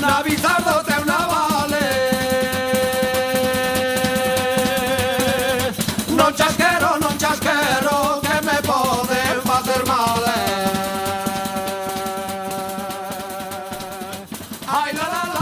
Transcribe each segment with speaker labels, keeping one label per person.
Speaker 1: na bizardo te una vale. Non chasquero, non chasquero, que me poden facer mal. eh. Ai, la, la, la.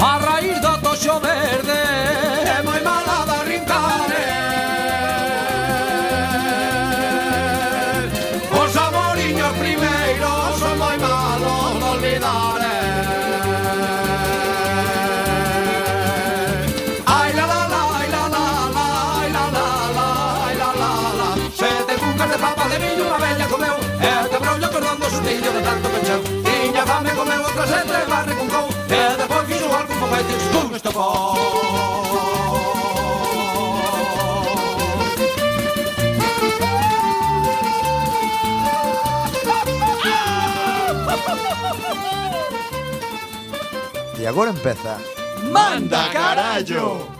Speaker 1: A raíz do toxo verde É moi mala da rincare Os amoriños primeiros Son moi malos de olvidar eh. Ai la la la, ai la la la Ai la la la, ai la la la Sete cucas de papa de millo Unha bella comeu E te brollo cordando sustillo de tanto pecheu Tiña fame comeu outra sete Barre con cou E depois fixo algún foguete Estou este pó
Speaker 2: E agora empeza
Speaker 1: Manda carallo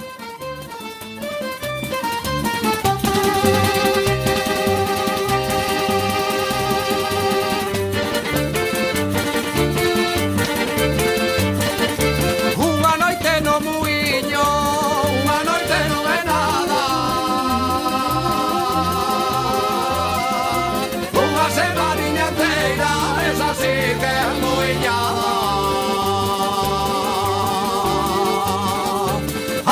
Speaker 1: Unha noite no muiño Unha noite non é nada Unha semaniña inteira Esa sí que é muiñada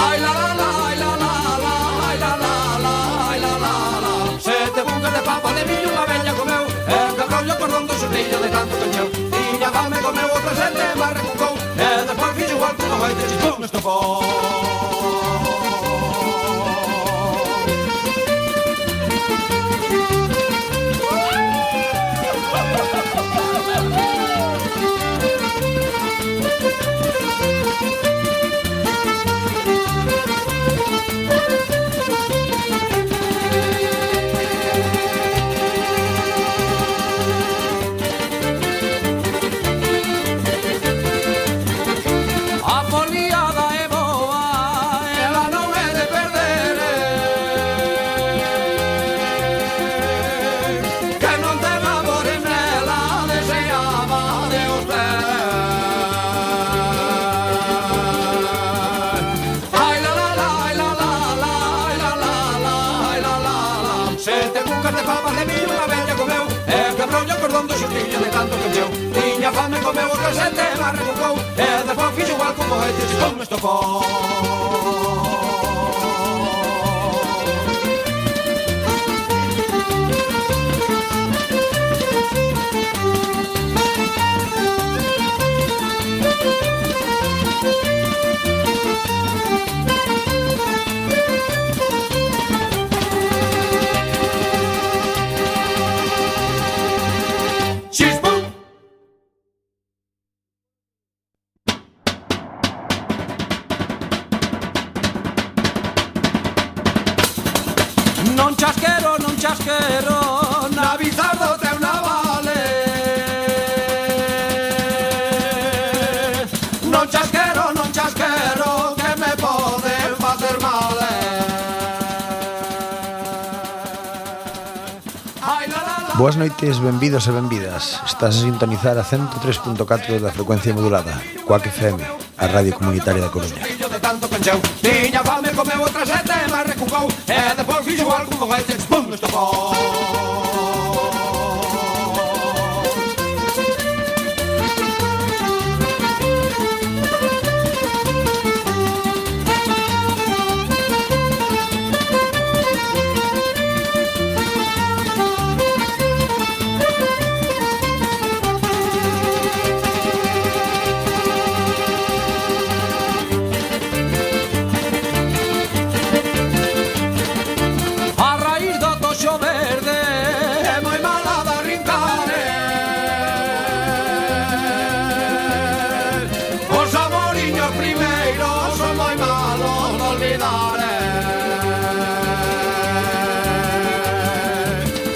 Speaker 1: Ai la la la, ai la la la, ai la la la, ai la la la. Sete bucas de papa de millo unha bella comeu, e que rollo cordón do xurrillo de tanto cancheu. Tiña fame comeu outra sete, mas recucou, e despois fixo igual Eh, que unha baita de pum estopou. A foliada é boa, ela non é e de perder eh. Que non te labores nela, deseaba de usted Ai la la la, ai la la la, ai la la la, ai la la la Sete cucas de papas de millo unha bella comeu E quebrou o cordón do xustillo de tanto que encheu Tiña fame comeu o casete, mas recucou E despois fixo igual como este, se como estopou Chispum! Non chasquero, non chasquero, na bizardo te una vale. Non chasquero, non chasquero, que me poden facer mal. eh. Ai, la, la, la.
Speaker 2: Boas noites, benvidos e benvidas Estás a sintonizar a 103.4 da frecuencia modulada Coac FM, a radio comunitaria da Coruña
Speaker 1: Fillo de tanto pencheu Tiña fame, comeu outra sete, mas recucou E depois fixo algún foguete, pum, estopou eh. olvidaré.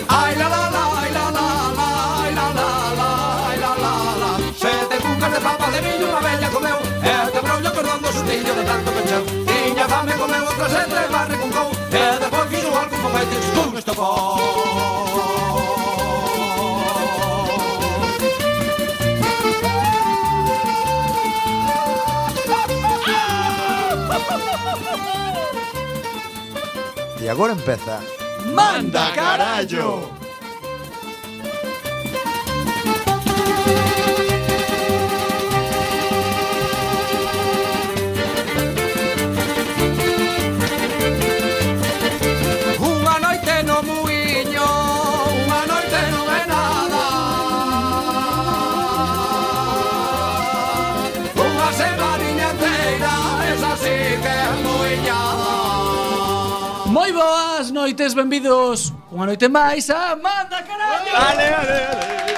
Speaker 1: Ay la la la, ay la la la, ay la la la, ay la la la. Sete cucas de papa de millo unha bella comeu, e te brollo perdendo sustillo de tanto que encheu. Tiña fame comeu outra sete e barre con cou, e depois fixo algo pa feite que estou estopou.
Speaker 2: E agora empeza
Speaker 1: Manda carallo. Unha noite no muiño, unha noite non é nada. Unha semaniña inteira, esa sí que é muiñada.
Speaker 3: Moi boas noites, benvidos unha noite máis a Manda Carallo Vale, vale, vale,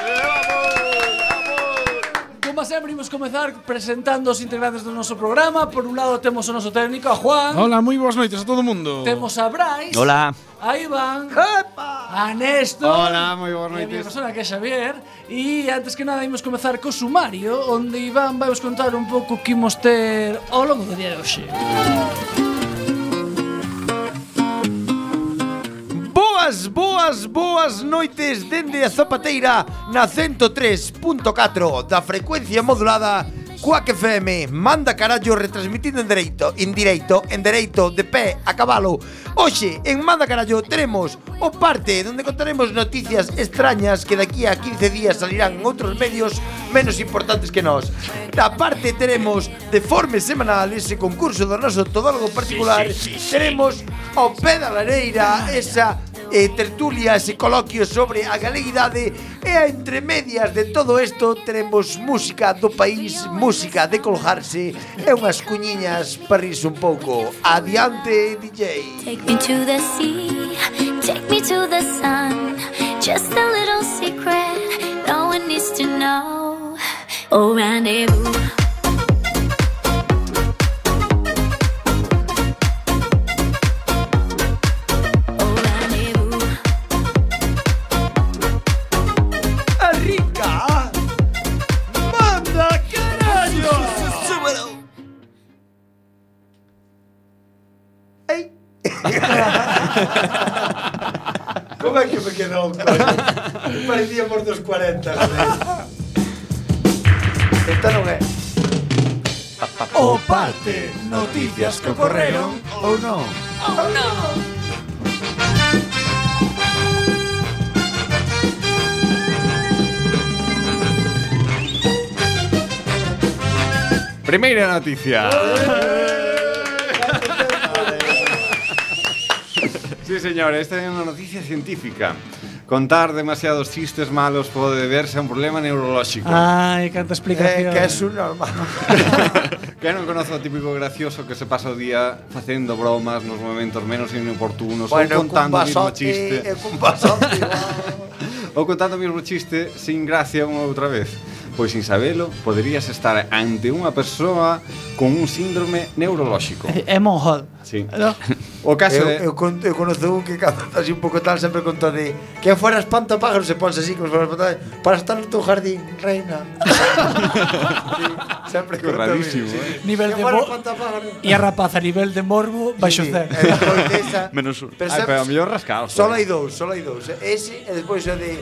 Speaker 3: Como sempre, imos comezar presentando os integrantes do noso programa Por un lado temos o noso técnico, a Juan
Speaker 4: Hola, moi boas noites a todo mundo.
Speaker 3: Temos a Brais
Speaker 5: Hola.
Speaker 3: A Iván A Néstor
Speaker 4: Hola, moi boas
Speaker 3: E a miña
Speaker 4: noites.
Speaker 3: persona que é Xavier E antes que nada imos comezar co sumario Onde Iván vai vos contar un pouco que imos ter ao longo do día de hoxe
Speaker 6: Boas, boas, boas noites dende a Zapateira na 103.4 da frecuencia modulada Cuac FM manda carallo retransmitindo en dereito, en direito, en dereito, de pé, a cabalo. Hoxe, en Manda Carallo, teremos o parte donde contaremos noticias extrañas que daqui a 15 días salirán en outros medios menos importantes que nós. Na parte teremos de forma semanal ese concurso do noso todólogo particular. Teremos ao pé da lareira esa eh, tertulia, ese coloquio sobre a galeguidade e a entre medias de todo isto teremos música do país, música de colgarse e unhas cuñiñas para rirse un pouco. Adiante, DJ.
Speaker 7: Take me to the sea, take me to the sun. Just a little secret, no one needs to know. Oh, rendezvous. Oh, rendezvous.
Speaker 6: A rica manda carallo. Ei. Como é que me quedou? Parecíamos dos 40, joder. Esta non é.
Speaker 2: O parte Noticias que ocorreron ou non
Speaker 8: Primeira noticia. sí, señor, esta é unha noticia científica. Contar demasiados chistes malos pode deberse a un problema neurolóxico.
Speaker 3: Ah. Ai, canta
Speaker 6: Eh,
Speaker 3: explicación
Speaker 6: que é un normal.
Speaker 8: Que non conozo o típico gracioso que se pasa o día facendo bromas nos momentos menos inoportunos ou
Speaker 6: cun
Speaker 8: contando o mismo
Speaker 6: vasote,
Speaker 8: tá chiste.
Speaker 6: eh, cun vasote.
Speaker 8: Ou contando o mesmo chiste sin gracia unha outra vez. Pois sin sabelo, poderías estar ante unha persoa con un síndrome neurolóxico.
Speaker 3: É Monhol
Speaker 8: Sí.
Speaker 3: No?
Speaker 8: O caso
Speaker 6: Eu,
Speaker 8: é...
Speaker 6: eu, con, eu conozo un que cando está así un pouco tal sempre conta de que fuera espanta pájaros se ponse así como se fuera espanta para estar no teu jardín, reina. sí, sempre
Speaker 8: Que
Speaker 6: conta
Speaker 8: rarísimo,
Speaker 6: mesmo, sí.
Speaker 8: eh?
Speaker 3: Nivel
Speaker 6: Que
Speaker 3: de
Speaker 6: fuera
Speaker 3: mo-
Speaker 6: espanta pájaros.
Speaker 3: E a rapaz a nivel de morbo baixo
Speaker 6: Sí, eh,
Speaker 3: cero.
Speaker 6: e despois desa,
Speaker 5: Menos un.
Speaker 6: pero
Speaker 8: Ai,
Speaker 6: sempre-
Speaker 8: pero a mellor rascaos.
Speaker 6: Solo hai dous, solo hai dous. eh. Ese e despois o de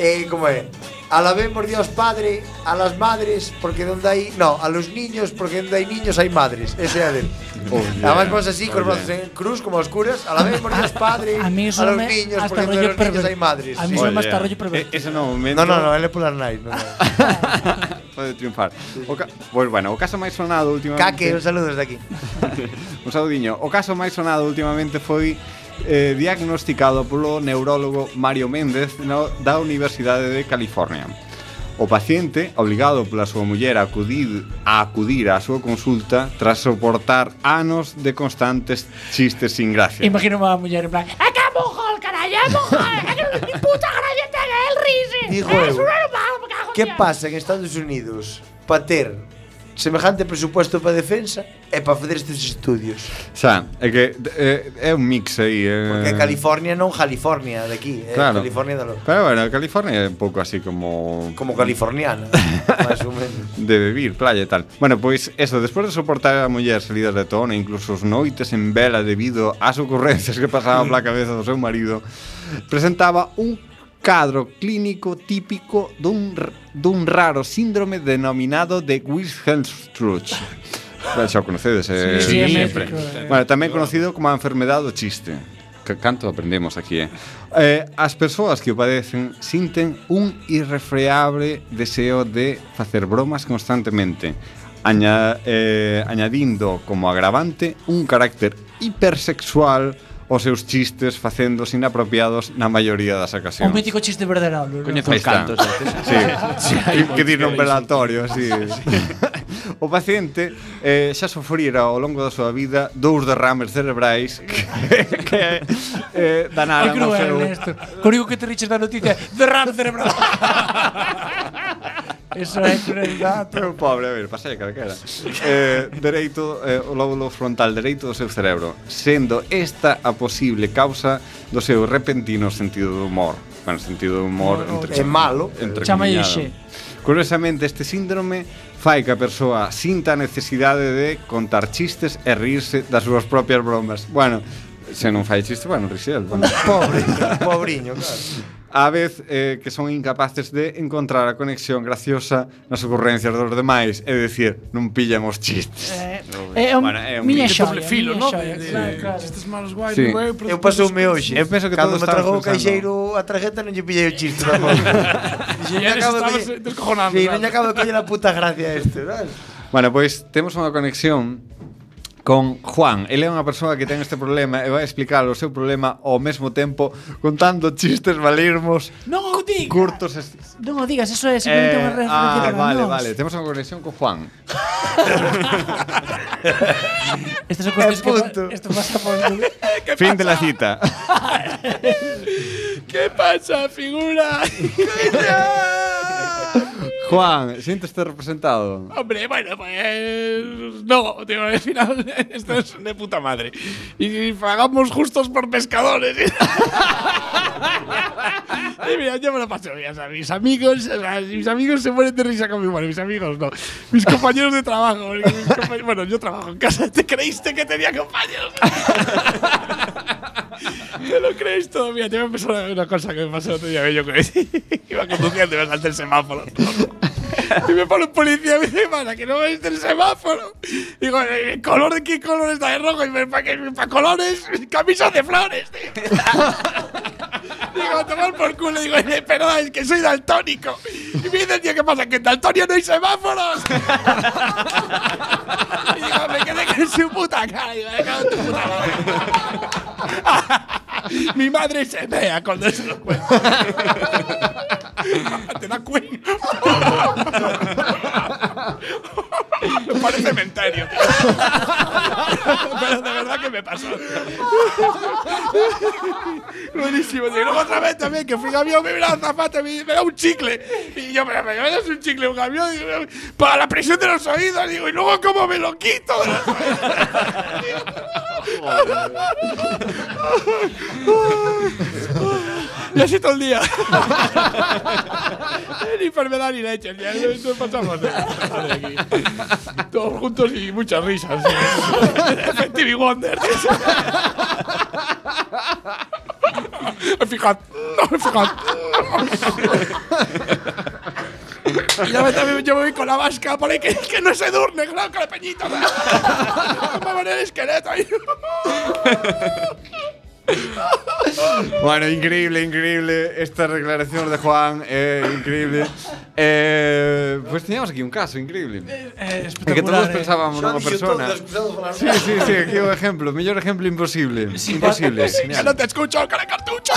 Speaker 6: eh, como é? Alabemos Dios Padre a las madres porque donde hai, no, a los niños porque donde hai niños hai madres. Ese é a del.
Speaker 8: Oh, yeah.
Speaker 6: Además vos así con
Speaker 8: Oh,
Speaker 6: los brazos en cruz como a oscuras, alabemos Dios Padre a,
Speaker 3: A mí eso
Speaker 6: los
Speaker 3: me-
Speaker 6: niños
Speaker 3: hasta
Speaker 6: porque donde
Speaker 3: rollo
Speaker 6: los niños
Speaker 3: perver-
Speaker 6: hai madres.
Speaker 3: a mí
Speaker 6: Sí.
Speaker 3: eso me está
Speaker 8: E-
Speaker 3: rollo perverso.
Speaker 8: Ese no momento
Speaker 6: No, no, no, ele polas nais, no. no.
Speaker 8: pode triunfar. O ca... Pois, bueno, o caso máis sonado últimamente...
Speaker 6: Caque, un saludo desde aquí.
Speaker 8: Un saludiño. O caso máis sonado últimamente foi eh, diagnosticado polo neurólogo Mario Méndez no, da Universidade de California. O paciente, obligado pola súa muller a acudir a acudir á súa consulta tras soportar anos de constantes chistes sin gracia.
Speaker 3: Imagino a muller en plan ¡É que é Monhol, carallo! ¡É Monhol! ¡É que non lle puta gracia ten el risi!
Speaker 6: Digo
Speaker 3: ¡Es
Speaker 6: eu,
Speaker 3: un normal, me cago en
Speaker 6: Que
Speaker 3: Dios".
Speaker 6: pasa en Estados Unidos pa ter semejante presupuesto para defensa e para facer estes estudios.
Speaker 8: Xa, é que eh, é un mix aí. Eh.
Speaker 6: Porque California non California de aquí, é
Speaker 8: Claro.
Speaker 6: Eh, California de lo...
Speaker 8: Pero bueno, California é un pouco así como
Speaker 6: como californiana, máis ou menos.
Speaker 8: de vivir, playa e tal. Bueno, pois eso, despois de soportar a muller salidas de tono, incluso os noites en vela debido ás ocurrencias que pasaban pola cabeza do seu marido, presentaba un cadro clínico típico dun, r- dun raro síndrome denominado de Wilhelmstruch. Ben, Xa o conocedes, eh,
Speaker 3: Sí, sí, é
Speaker 8: sempre.
Speaker 3: mítico, eh.
Speaker 8: Bueno, tamén conocido como a enfermedade do chiste. Que canto aprendemos aquí, eh? eh as persoas que o padecen sinten un irrefreable deseo de facer bromas constantemente, aña, eh, añadindo como agravante un carácter hipersexual aos seus chistes facéndoos inapropiados na maioría das
Speaker 3: O
Speaker 8: ocasións.
Speaker 3: mítico chiste verdadeiro. non?
Speaker 9: Coñezo
Speaker 8: Aí
Speaker 9: uns
Speaker 8: está.
Speaker 9: cantos. estes.
Speaker 8: Sí, que, que dir un velatorio, sí. O paciente eh, xa sufrira ao longo da súa vida dous derrames cerebrais que, que eh,
Speaker 3: Ai,
Speaker 8: danaran o
Speaker 3: cruel,
Speaker 8: seu...
Speaker 3: Néstor. Corigo que te riches da noticia. Derrame cerebral. Eso é crueldad.
Speaker 8: Pero pobre, a ver, pasei calquera. Eh, dereito, eh, o lóbulo frontal dereito do seu cerebro, sendo esta a posible causa do seu repentino sentido do humor. Bueno, sentido do humor entre
Speaker 6: É malo.
Speaker 8: entre
Speaker 3: Chamalle
Speaker 8: comillado.
Speaker 3: xe.
Speaker 8: Curiosamente, este síndrome fai que a persoa sinta a necesidade de contar chistes e rirse das súas propias bromas. Bueno, se non fai chiste, bueno, rise el. Bueno.
Speaker 6: Pobre, pobriño, claro.
Speaker 8: A vez eh, que son incapaces de encontrar a conexión graciosa nas ocurrencias dos demais, é dicir, non pillan os chistes.
Speaker 3: Eh. É un,
Speaker 8: Bueno, é un
Speaker 3: miña
Speaker 8: mix.
Speaker 3: xoia,
Speaker 10: Doble filo, ¿no?
Speaker 3: miña xoia,
Speaker 10: De-
Speaker 3: Claro, claro.
Speaker 10: Chistes malos guai,
Speaker 8: Sí.
Speaker 10: guai, pero
Speaker 6: Eu pasoume hoxe.
Speaker 8: Eu penso que
Speaker 6: Cando
Speaker 8: todos
Speaker 6: me tragou o
Speaker 8: estamos pensando.
Speaker 6: caixeiro a tarjeta non lle pillei o chiste tampouco. Dixen, "Non acabo de-
Speaker 10: estabas eh, descojonando.
Speaker 6: Sí,
Speaker 10: claro.
Speaker 6: non lle acabo de coñer a puta gracia a este, sabes?
Speaker 8: Bueno, pois temos unha conexión con Juan. Ele é unha persoa que ten este problema e vai explicar o seu problema ao mesmo tempo contando chistes valirmos
Speaker 3: Non o digas.
Speaker 8: curtos. es-
Speaker 3: Non o digas, eso é simplemente unha referencia
Speaker 8: ah,
Speaker 3: para
Speaker 8: vale,
Speaker 3: nós.
Speaker 8: vale. Temos unha conexión con Juan.
Speaker 3: Estas son cuestións
Speaker 6: Eh,
Speaker 3: que
Speaker 6: punto.
Speaker 3: pa- Esto pasa por...
Speaker 8: Fin de la cita.
Speaker 3: Que pasa, figura?
Speaker 8: Juan, siénteste representado.
Speaker 10: Hombre, bueno, pues. No, tío, al final, esto es de puta madre. Y pagamos justos por pescadores. y mira, yo me lo paso bien. O sea, mis amigos, o sea, mis amigos se mueren de risa conmigo. Bueno, mis amigos no. Mis compañeros de trabajo. porque mis compañ- bueno, yo trabajo en casa. ¿Te creíste que tenía compañeros? ¿Te lo crees todavía? Yo me empezó una cosa que me pasó otro día. que Yo que iba conduciendo y me salté el semáforo. Y me pone un policía y me dice, "Mana, que no es del semáforo. Digo, "¿El ¿color de qué color está de rojo? Y me para colores, camisa de flores, tío. digo, "A tomar por culo. Digo, "Eh, perdón, es que soy daltónico. Y me dice, el tío, ¿qué pasa? Que en Daltonia no hay semáforos. y digo, me quedé con su puta cara. Digo, "Me cago en tu puta madre". Mi madre se vea cuando se lo cuento. Te da cuello. Me parece cementerio. Pero de verdad que me pasó. Buenísimo. Y luego otra vez también que fui a camión, me miraba zapata, me, me da un chicle. Y yo, pero me das un chicle, un camión, y yo, para la presión de los oídos. Digo, y luego, ¿cómo me lo quito? de los oídos? y así todo el día. ni enfermedad ni leche. Ya no pasamos nada de aquí. Todos juntos y muchas risas. Effective Wonder. Fijad. No, fijad. Y ya me, también yo me voy con la vasca por ahí que, que no se durne, claro, con la peñita. Me va a poner el esqueleto ahí.
Speaker 8: Bueno, increíble, increíble esta declaración de Juan, eh, increíble. Eh, pues teníamos aquí un caso increíble. En que todos
Speaker 3: espectacular, eh.
Speaker 8: pensábamos en una persona. Sí, sí, sí, aquí un ejemplo, mejor ejemplo imposible. imposible.
Speaker 10: Que
Speaker 8: genial.
Speaker 10: no te escucho, cara cartucho.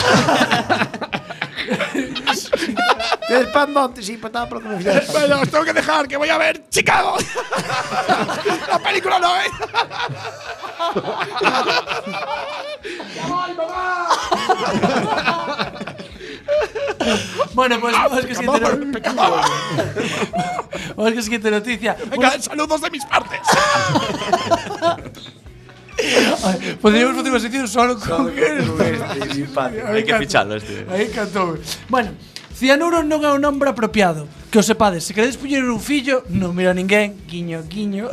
Speaker 6: Tedes pan monte, si, patada pola comunidade.
Speaker 10: Bueno, os tengo que dejar, que voy a ver Chicago. la película no ¿eh? es.
Speaker 3: Bueno, pues vamos que si tenemos... Vamos con la siguiente noticia.
Speaker 4: Venga, saludos de mis partes.
Speaker 3: Una- Podríamos facer unha sección solo con
Speaker 5: Hay que ficharlo este.
Speaker 3: Aí cantou. Bueno, cianuro non é un nombre apropiado. Que o sepades, se queredes puñer un fillo, non mira ninguén, guiño, guiño.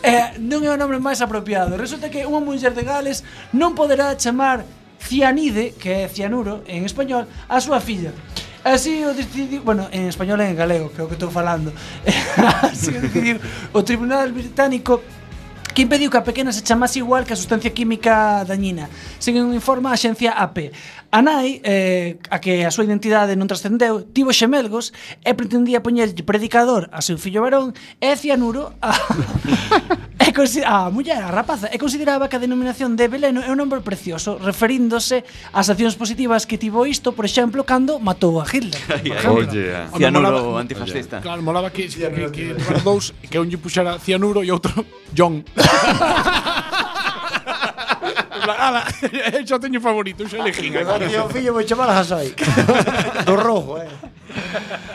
Speaker 3: Eh, non é o nombre máis apropiado. Resulta que unha muller de Gales non poderá chamar cianide, que é cianuro en español, a súa filla. Así o decidiu, bueno, en español e en galego, que é o que estou falando. Así o decidiu o Tribunal Británico que impediu que a pequena se chamase igual que a sustancia química dañina, según informa a axencia AP. A nai, eh, a que a súa identidade non trascendeu, tivo xemelgos e pretendía poñerlle predicador a seu fillo varón e cianuro a, e consi- a muller, a rapaza, e consideraba que a denominación de Beleno é un nombre precioso, referíndose ás accións positivas que tivo isto, por exemplo, cando matou a Hitler.
Speaker 8: Oye.
Speaker 5: Cianuro antifascista.
Speaker 4: Claro, molaba que, que, que, que para dous que un lle puxera cianuro e outro John. En plan, Ala, eu xa teño favorito, xa elexín.
Speaker 6: Tío, fillo, vou chamar a Hasai. Do rojo, eh.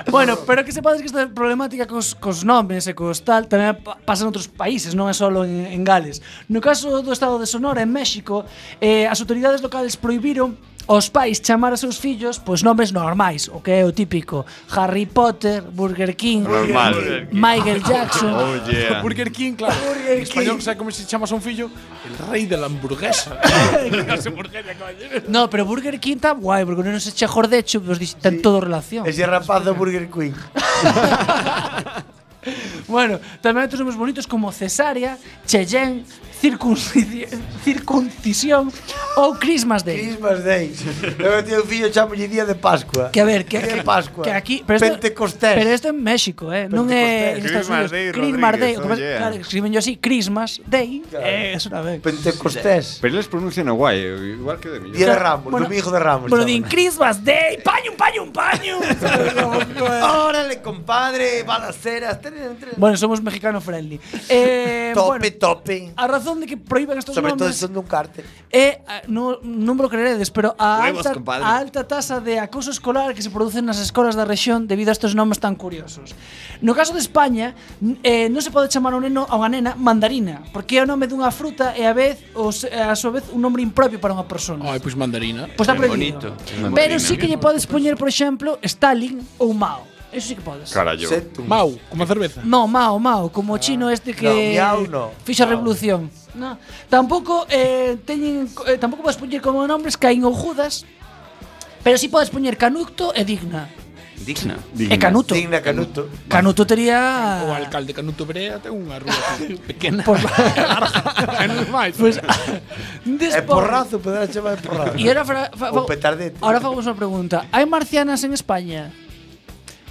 Speaker 3: Bueno, pero que sepades que esta problemática cos, cos nomes e cos tal tamén pa- pasa en outros países, non é só en, en Gales. No caso do estado de Sonora, en México, eh, as autoridades locales prohibiron aos pais chamar a seus fillos pois nomes normais, o que é o típico Harry Potter, Burger King,
Speaker 8: Normal.
Speaker 3: Michael Jackson.
Speaker 8: Oye.
Speaker 4: Burger King, claro. en español, sabe como se chama a un fillo? El rei de la hamburguesa.
Speaker 3: No, pero Burger King está guai, porque non se che jordecho, pois dis- ten todo relación.
Speaker 6: Ese rapaz do Burger Queen.
Speaker 3: Bueno, tamén hai outros nomes bonitos como cesárea, Cheyenne, circunci- circuncisión ou Christmas Day.
Speaker 6: Christmas Day. Eu tío fillo chamolle día de Pascua.
Speaker 3: Que a ver, que,
Speaker 6: Día de
Speaker 3: que,
Speaker 6: Pascua.
Speaker 3: que aquí, pero esto,
Speaker 6: Pentecostés.
Speaker 3: pero esto en México, eh, non é en
Speaker 8: Christmas
Speaker 3: Estados Unidos.
Speaker 8: Day,
Speaker 3: Christmas Day,
Speaker 8: Rodríguez,
Speaker 3: o que pasa-
Speaker 8: oye.
Speaker 3: claro, escriben yo así Christmas Day, eh, es una vez.
Speaker 6: Pentecostés.
Speaker 8: Pero eles pronuncian guai, igual que de mí.
Speaker 6: Día de Ramos,
Speaker 3: Bueno,
Speaker 6: domingo de Ramos.
Speaker 3: Bueno, din
Speaker 6: chaman.
Speaker 3: Christmas Day, paño, paño, paño.
Speaker 6: Órale, compadre, balaceras. tren, tren.
Speaker 3: Ah, bueno, somos mexicano friendly. Eh,
Speaker 6: Tope,
Speaker 3: bueno,
Speaker 6: tope.
Speaker 3: a razón de que prohíban estos
Speaker 6: Sobre todo
Speaker 3: nombres,
Speaker 6: si son de un cártel.
Speaker 3: E a- no, non me lo creeredes, pero a
Speaker 5: Huevos,
Speaker 3: alta,
Speaker 5: compadre.
Speaker 3: a alta taza de acoso escolar que se produce nas escolas da rexión debido a estes nomes tan curiosos. No caso de España, n- eh, non se pode chamar a un neno a unha nena mandarina, porque é o nome dunha fruta e a vez os, e a súa vez un nome impropio para unha persona.
Speaker 4: Ai, pois mandarina.
Speaker 3: pois está
Speaker 5: Qué
Speaker 3: prohibido.
Speaker 5: bonito.
Speaker 3: Pero sí que lle podes poñer, por exemplo, Stalin ou Mao. Eso sí que podes.
Speaker 8: Carallo.
Speaker 6: Setum.
Speaker 4: Mau, como a cerveza.
Speaker 3: No, Mao, Mao, como o chino este que
Speaker 6: Ah. No, miau no.
Speaker 3: fixo a revolución. No. Tampouco eh, teñen eh, tampouco podes poñer como nombres Caín ou Judas, pero si sí podes poñer Canuto e Digna.
Speaker 5: Digna.
Speaker 3: E Canuto.
Speaker 6: Digna Canuto.
Speaker 3: Canuto tería
Speaker 4: O alcalde Canuto Brea ten unha rúa aquí pequena.
Speaker 3: Por-
Speaker 4: É normal.
Speaker 6: É
Speaker 3: Pues,
Speaker 6: Eh,
Speaker 3: despois-
Speaker 6: porrazo, poderá chamar porrazo.
Speaker 3: E ahora fra, fa,
Speaker 6: O
Speaker 3: fa,
Speaker 6: petardete.
Speaker 3: Ahora fagamos unha pregunta. Hai marcianas en España?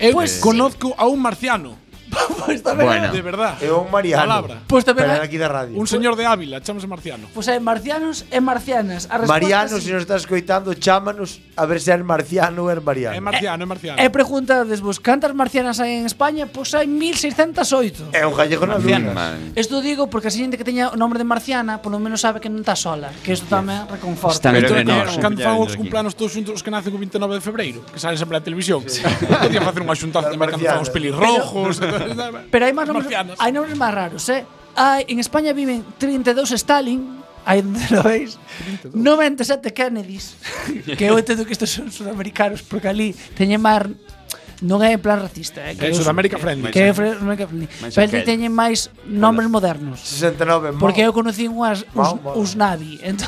Speaker 4: Eu
Speaker 3: Pues-
Speaker 4: conozco a un marciano.
Speaker 3: pois tamén.
Speaker 5: Bueno.
Speaker 4: De verdad.
Speaker 6: É un mariano.
Speaker 4: Palabra.
Speaker 3: Pois
Speaker 6: Pero era
Speaker 3: tamén. hai-
Speaker 6: aquí da radio.
Speaker 4: Un señor de Ávila, chamase marciano.
Speaker 3: Pois hai marcianos e marcianas. A resposta
Speaker 6: Mariano,
Speaker 3: é
Speaker 6: se nos estás escoitando, chámanos a ver se é marciano ou é
Speaker 4: É
Speaker 6: mariano.
Speaker 4: marciano, é marciano.
Speaker 3: E preguntades vos cantas marcianas hai en España? Pois hai 1608.
Speaker 6: É un gallego na luna.
Speaker 8: Man.
Speaker 3: Esto digo porque a xente que teña o nombre de Marciana Por lo menos sabe que non está sola Que isto tamén reconforta
Speaker 5: Están
Speaker 8: Pero
Speaker 5: entre
Speaker 8: que non,
Speaker 5: nós.
Speaker 8: eh.
Speaker 4: Cando
Speaker 8: Pillaron
Speaker 4: fan os
Speaker 8: aquí.
Speaker 4: cumplanos todos xuntos os que nacen o 29 de febreiro, que salen sempre na televisión. Podía facer unha xuntanza de mercado fan os pelirrojos.
Speaker 3: Pero hai máis nombres,
Speaker 4: Marcianos.
Speaker 3: hai nombres máis raros, eh? Hai, en España viven 32 Stalin Aí onde lo veis 97 Kennedys Que eu entendo que estes son sudamericanos Porque ali teñen máis Non é en plan racista eh,
Speaker 4: É
Speaker 3: eu-
Speaker 4: Sudamérica friendly.
Speaker 3: Que é fre- Sudamérica friendly.
Speaker 5: Mais
Speaker 3: Pero ali
Speaker 5: aquel.
Speaker 3: teñen máis nombres modernos
Speaker 6: 69, mo.
Speaker 3: Porque eu conocí unhas
Speaker 6: Mau,
Speaker 3: us,
Speaker 6: mau.
Speaker 3: us Navi Entón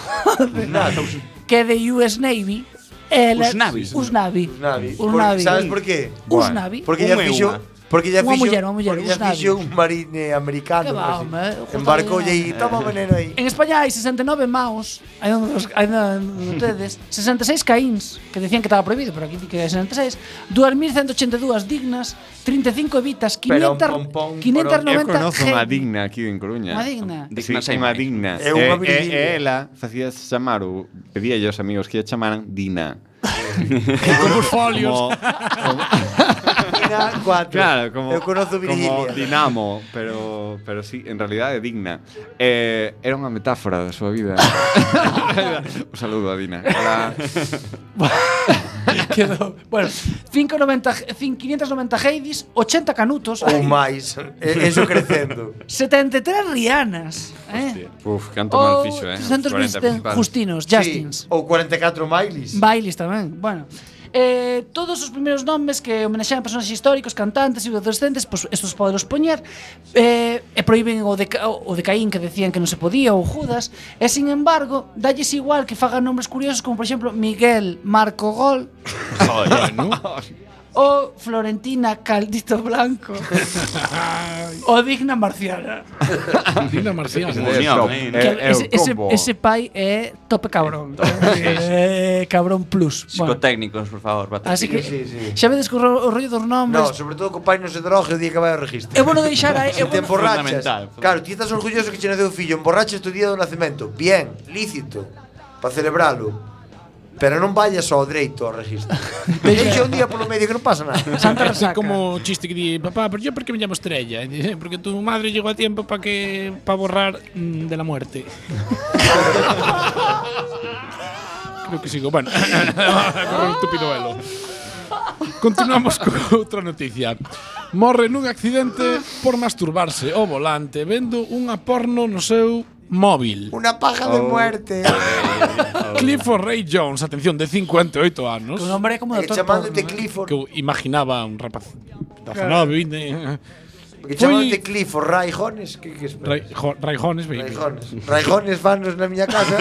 Speaker 3: que é de US Navy. Ela,
Speaker 5: Us Navy.
Speaker 3: Us Navy.
Speaker 6: Us Navy.
Speaker 3: Us
Speaker 6: Por-
Speaker 3: Navy.
Speaker 6: ¿Sabes por qué?
Speaker 3: Us Navy.
Speaker 6: Porque ya
Speaker 5: Un e
Speaker 6: fixo...
Speaker 5: unha.
Speaker 6: Porque ya
Speaker 3: Unha
Speaker 6: fixo...
Speaker 3: muller, unha muller,
Speaker 6: porque ya
Speaker 3: un
Speaker 6: fixo
Speaker 3: sabio.
Speaker 6: un marine americano.
Speaker 3: Que va,
Speaker 6: así.
Speaker 3: home, junto
Speaker 6: Embarcoulle
Speaker 3: ali,
Speaker 6: aí, toma veneno aí.
Speaker 3: En España hai 69 maos, hai onde os, hai onde ustedes, 66 caíns, que decían que estaba prohibido, pero aquí di que é 66, 2182 dignas, 35 evitas, 500,
Speaker 6: Pero un
Speaker 8: Eu
Speaker 6: pompón,
Speaker 3: 590
Speaker 8: conozco unha
Speaker 3: gen-
Speaker 8: digna aquí en Coruña.
Speaker 3: Unha digna?
Speaker 5: Digna
Speaker 8: Digna, sí,
Speaker 5: sei
Speaker 8: unha
Speaker 5: máis.
Speaker 8: digna.
Speaker 6: É unha
Speaker 8: E- e-
Speaker 6: viriliña.
Speaker 8: e eh, ela facía chamar, ou pedía aos amigos que a chamaran Dina.
Speaker 4: Como os folios.
Speaker 8: Como,
Speaker 6: Mira, cuatro.
Speaker 8: claro, como,
Speaker 6: Eu conozo
Speaker 8: como
Speaker 6: Virginia.
Speaker 8: Dinamo, pero, pero sí, en realidad é digna. Eh, era unha metáfora da súa vida. Un saludo a Dina. Hola.
Speaker 3: Quedou. Bueno, 590, cin- 590 Heidis, 80 Canutos,
Speaker 6: Ou máis. E- Eso crecendo.
Speaker 3: 73 Rianas, eh?
Speaker 8: Uf, canto mal
Speaker 3: Ou
Speaker 8: fixo, eh.
Speaker 3: 300
Speaker 8: Os 40
Speaker 3: Winston
Speaker 8: principales.
Speaker 3: Justins, Justins.
Speaker 6: Sí, ou 44 Mileys.
Speaker 3: Bailes tamén, bueno. Eh, todos os primeiros nomes que homenaxean personaxes históricos, cantantes e adolescentes, pois estos poderos poñer, eh, e proíben o de, Ca- o de Caín que decían que non se podía, ou Judas, e sin embargo, dalles igual que fagan nombres curiosos como, por exemplo, Miguel Marco Gol, ou Florentina Caldito Blanco, ou Digna Marciana.
Speaker 4: Dina Marciano.
Speaker 5: Unión, eh,
Speaker 8: É-
Speaker 3: Que
Speaker 8: é o
Speaker 3: ese, ese,
Speaker 8: combo.
Speaker 3: ese pai é tope cabrón. eh, cabrón plus. Bueno,
Speaker 5: Psicotécnicos, por favor. bate.
Speaker 3: así que
Speaker 6: Sí, sí.
Speaker 3: xa vedes que o ro- o rollo dos
Speaker 6: No,
Speaker 3: nombres
Speaker 6: sobre todo que o pai non se droga o día que vai ao registro.
Speaker 3: É bueno deixar aí, é
Speaker 6: Se te
Speaker 3: bueno,
Speaker 6: emborrachas.
Speaker 5: Fundamental.
Speaker 6: Claro, ti estás orgulloso que che naceu un fillo, emborrachas tu día do nacemento. Bien, lícito, para celebralo. Pero non vayas ao dereito ao registro. Deixa un día polo medio que non pasa nada.
Speaker 3: Santa
Speaker 4: Así
Speaker 3: Resaca.
Speaker 4: como o chiste que di, papá, pero yo por qué me llamo Estrella? Y dice, porque tu madre llegó a tiempo para que para borrar mm, de la muerte. Creo que sigo. Bueno, con un estúpido velo. Continuamos con outra noticia. Morre nun accidente por masturbarse o volante vendo unha porno no seu móvil.
Speaker 6: Una paja de muerte.
Speaker 4: Clifford Ray Jones, atención, de 58 anos.
Speaker 3: Que o nombre é como
Speaker 6: Eh,
Speaker 3: doutor
Speaker 6: chamándote
Speaker 3: porno,
Speaker 6: Clifford,
Speaker 4: que eu imaginaba un rapaz de 19, 20.
Speaker 6: que chamándote Clifford, Raijones, que que espera?
Speaker 4: Raijones, baby.
Speaker 6: Raijones. Raijones vanos na miña casa.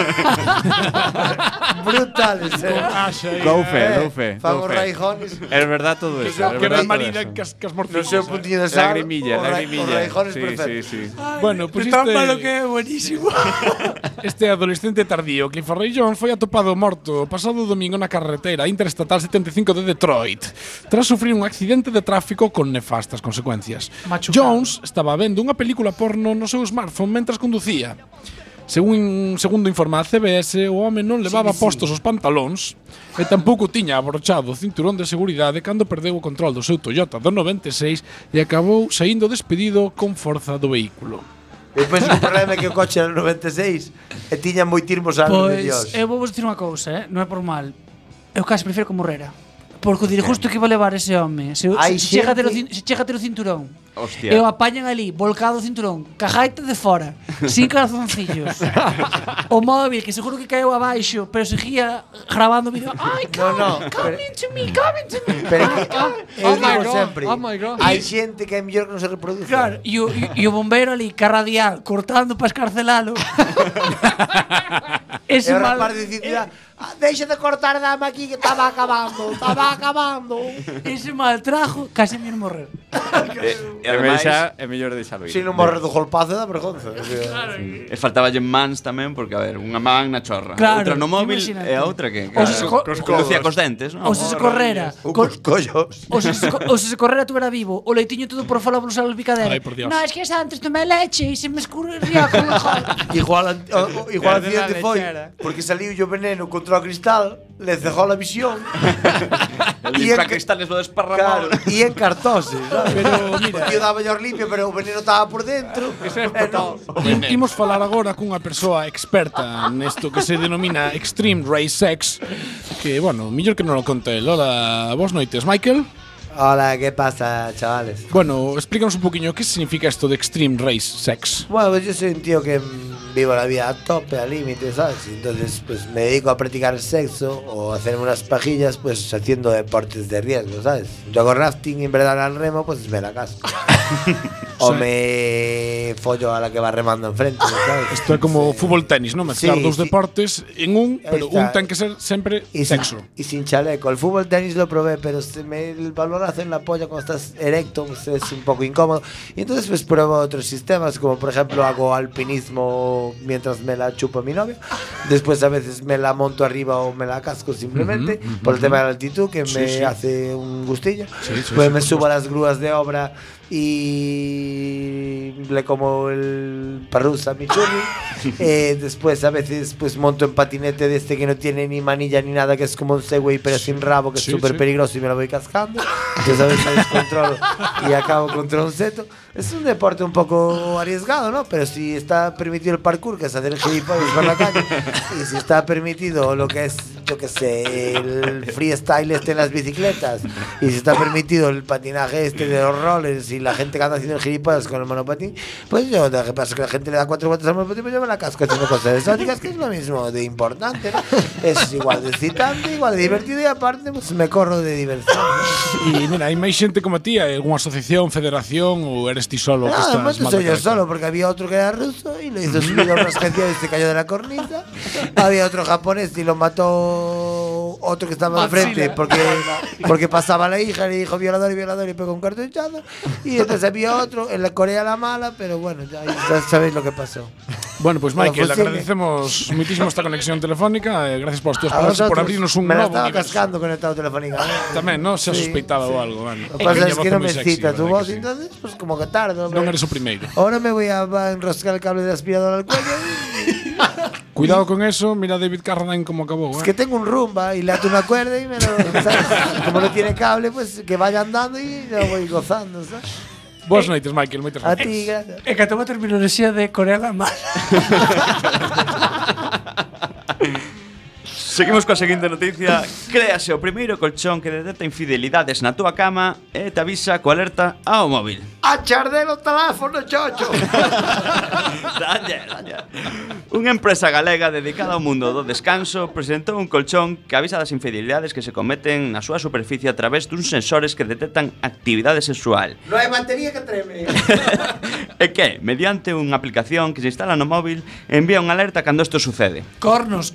Speaker 6: Brutales, eh.
Speaker 4: Axa, aí,
Speaker 8: Dou
Speaker 4: eh,
Speaker 8: fe, dou fe.
Speaker 6: Fan
Speaker 8: dou
Speaker 6: os
Speaker 8: fe.
Speaker 6: raijones.
Speaker 5: Es verdad todo
Speaker 4: que
Speaker 5: eso.
Speaker 4: se-
Speaker 5: es
Speaker 4: Que
Speaker 5: verdad
Speaker 4: era
Speaker 5: todo
Speaker 4: marina
Speaker 5: eso.
Speaker 4: que as, que as
Speaker 6: No
Speaker 4: morcillas.
Speaker 6: sei o puntiño de sal.
Speaker 8: Lagrimilla,
Speaker 6: os ra- Os
Speaker 8: lagrimilla.
Speaker 6: raijones
Speaker 8: Sí, sí,
Speaker 6: perfectos.
Speaker 8: sí.
Speaker 4: Bueno, pues
Speaker 3: De tan
Speaker 4: este-
Speaker 3: malo que é, buenísimo.
Speaker 4: Este adolescente tardío, Clifford Ray Jones, foi atopado morto o pasado domingo na carretera interestatal 75 de Detroit, tras sufrir un accidente de tráfico con nefastas consecuencias.
Speaker 3: Machucado.
Speaker 4: Jones estaba vendo unha película porno no seu smartphone mentras conducía. Según segundo informa a CBS, o home non levaba postos os pantalóns e tampouco tiña abrochado o cinturón de seguridade cando perdeu o control do seu Toyota do 96 e acabou saindo despedido con forza do vehículo.
Speaker 6: Eu penso que o problema é que o coche era 96 e tiñan moitirmos anos de Dios.
Speaker 3: Pois, eu vou vos dicir unha cousa, eh? non é por mal. Eu casi prefiero que morrera. Porque o dirigusto que iba a levar ese home Se,
Speaker 6: Hai
Speaker 3: se, se, chega a ter o, cin-
Speaker 6: xente-
Speaker 3: se chega a ter o cinturón
Speaker 5: Hostia.
Speaker 3: E o apañan ali, volcado o cinturón Cajaita de fora Sin calzoncillos O móvil, que seguro que caeu abaixo Pero seguía grabando o vídeo Ai,
Speaker 6: No,
Speaker 3: come,
Speaker 6: no, pero-
Speaker 3: come to me, come to me
Speaker 6: Pero é que eu
Speaker 4: Oh my
Speaker 6: digo
Speaker 4: God,
Speaker 6: sempre,
Speaker 4: oh my God.
Speaker 6: hai xente que é mellor que non se reproduce.
Speaker 3: Claro, e o, e- e o bombero ali, carradial, cortando para escarcelalo.
Speaker 6: E
Speaker 3: Ese
Speaker 6: o
Speaker 3: mal-
Speaker 6: rapaz decidirá, ah, deixa de cortar dama aquí que estaba acabando, estaba acabando.
Speaker 3: Ese mal trajo, casi me morrer.
Speaker 5: Eh, e
Speaker 8: É mellor
Speaker 5: ademais,
Speaker 8: deixar- É mellor deixalo ir.
Speaker 6: Si non morre do golpazo da vergonza. o sea.
Speaker 5: e faltaba lle mans tamén, porque, a ver, unha man na chorra.
Speaker 3: Claro,
Speaker 5: outra no móvil
Speaker 3: imagínate.
Speaker 5: e a outra que...
Speaker 3: Ou se co-
Speaker 5: Conducía cos dentes, non?
Speaker 3: O se se correra.
Speaker 6: Ou
Speaker 3: con-
Speaker 6: cos collos.
Speaker 3: O se se, co- o se se correra tuvera vivo, o leitiño todo por fora polos albicadero.
Speaker 4: Ay, por Dios.
Speaker 3: No, es que es antes tomé leche e se me escurría con la joda.
Speaker 6: Igual, an- o- o- igual
Speaker 3: Perde la
Speaker 6: accidente foi
Speaker 3: lechera.
Speaker 6: porque saliu o veneno contra o cristal, le cejou a visión.
Speaker 5: E
Speaker 6: en
Speaker 5: para
Speaker 6: ca-
Speaker 5: cristales lo
Speaker 6: Claro,
Speaker 5: desparramado.
Speaker 6: e en cartose, sabes?
Speaker 4: Pero, mira,
Speaker 6: O tío daba llor limpio, pero o veneno estaba por dentro. Eh, non.
Speaker 4: I- Imos falar agora cunha persoa experta nesto que se denomina Extreme Race Sex Que, bueno, mellor que non o conte el Ola, boas noites, Michael
Speaker 6: Hola, ¿qué pasa, chavales?
Speaker 4: Bueno, explícanos un poquinho que significa isto de Extreme Race Sex
Speaker 6: Bueno, pues yo soy un tío que mm, vivo la vida a tope, al límite, ¿sabes? Y Entonces, pues me dedico a practicar sexo o a hacerme unas pajillas, pues haciendo deportes de riesgo, ¿sabes? Yo hago rafting y en verdad al remo, pues me la casco. o me follo a la que va remando enfrente, ¿sabes?
Speaker 4: Isto é como fútbol tenis, non? Mezclar
Speaker 6: Sí,
Speaker 4: dous
Speaker 6: sí.
Speaker 4: deportes en un, pero
Speaker 6: Está.
Speaker 4: un ten que ser sempre
Speaker 6: Y sin,
Speaker 4: sexo
Speaker 6: y sin chaleco. El fútbol tenis lo probé, pero se me, el balonazo en la polla cuando estás erecto pues, es un poco incómodo. Y entonces pues pruebo otros sistemas, como por ejemplo hago alpinismo mientras me la chupa mi novia. Después a veces me la monto arriba o me la casco simplemente por el tema de la altitud que me hace un gustillo. pues me subo a las grúas de obra y le como el parrus a mi churri. Eh, después a veces pues monto en patinete de este que no tiene ni manilla ni nada, que es como un Segway pero sin rabo, que
Speaker 4: Sí,
Speaker 6: es súper
Speaker 4: sí.
Speaker 6: peligroso y me lo voy cascando. Entonces a veces me descontrolo y acabo contra un seto. Es un deporte un poco arriesgado, ¿no? Pero si está permitido el parkour, que es hacer gilipollas por la calle, y si está permitido lo que es yo qué sé, el freestyle este en las bicicletas y si está permitido el patinaje este de los rollers y la gente que anda haciendo el gilipollas con el monopatín, pues yo, lo que pasa es que la gente le da cuatro vueltas al monopatín, pues yo me la casco haciendo cosas exóticas, que es lo mismo de importante, ¿no? Es igual de excitante, igual de divertido y aparte, pues me corro de diversión.
Speaker 4: E, mira, hai máis xente como ti, hai algunha asociación, federación ou eres ti
Speaker 6: No,
Speaker 4: solo?
Speaker 6: no
Speaker 4: que
Speaker 6: de
Speaker 4: estás
Speaker 6: momento
Speaker 4: mal
Speaker 6: soy
Speaker 4: de
Speaker 6: yo
Speaker 4: cabeza?
Speaker 6: Ah, solo, porque había otro que era ruso y lo hizo subir a una agencia y se cayó de la cornisa. Había otro japonés y lo mató otro que estaba al frente porque, porque pasaba la hija y le dijo violador y violador y pegó un cartuchazo. Y entonces había otro en la Corea la mala, pero bueno, ya, ya sabéis lo que pasó.
Speaker 4: Bueno, pois pues,
Speaker 6: Bueno,
Speaker 4: Michael,
Speaker 6: funcione.
Speaker 4: agradecemos muitísimo esta conexión telefónica, eh, gracias polas túas
Speaker 6: A
Speaker 4: palabras por
Speaker 6: vosotros,
Speaker 4: abrirnos un
Speaker 6: me la
Speaker 4: novo
Speaker 6: estaba
Speaker 4: universo.
Speaker 6: cascando con el estado telefónico.
Speaker 4: Tamén, non? Se
Speaker 6: Sí,
Speaker 4: sospeitaba
Speaker 6: sí.
Speaker 4: ou algo, bueno.
Speaker 6: Lo que pasa
Speaker 4: Miña
Speaker 6: es
Speaker 4: voz
Speaker 6: que no
Speaker 4: moi
Speaker 6: me
Speaker 4: sexy,
Speaker 6: excita
Speaker 4: verdad
Speaker 6: tu
Speaker 4: que
Speaker 6: voz,
Speaker 4: sí.
Speaker 6: entonces pues como que tardo.
Speaker 4: Non
Speaker 6: pero-
Speaker 4: eres o primeiro.
Speaker 6: Ahora me voy a a enroscar el cable de aspirador al cuello.
Speaker 4: Cuidado con eso, mira David Carradine como acabou,
Speaker 6: Es
Speaker 4: eh.
Speaker 6: que tengo un rumba y le ato una cuerda y me lo. ¿sabes? Como no tiene cable, pues que vaya andando y yo voy gozando, ¿sabes?
Speaker 4: Boas noites, Michael, moitas
Speaker 6: A
Speaker 4: gracias.
Speaker 6: ti, gracias.
Speaker 3: É que atoma a terminoloxía de Corea da Mar.
Speaker 5: Seguimos coa seguinte noticia Créase o primeiro colchón que detecta infidelidades na túa cama E te avisa co alerta ao móvil
Speaker 6: ¡A chardelo los teléfonos, chocho!
Speaker 5: Dalle, dalle. Unha empresa galega dedicada ao mundo do descanso presentou un colchón que avisa das infidelidades que se cometen na súa superficie a través duns sensores que detectan actividade sexual.
Speaker 6: No hay batería que treme.
Speaker 5: E que, mediante unha aplicación que se instala no móvil, envía unha alerta cando isto sucede.
Speaker 3: Cornos,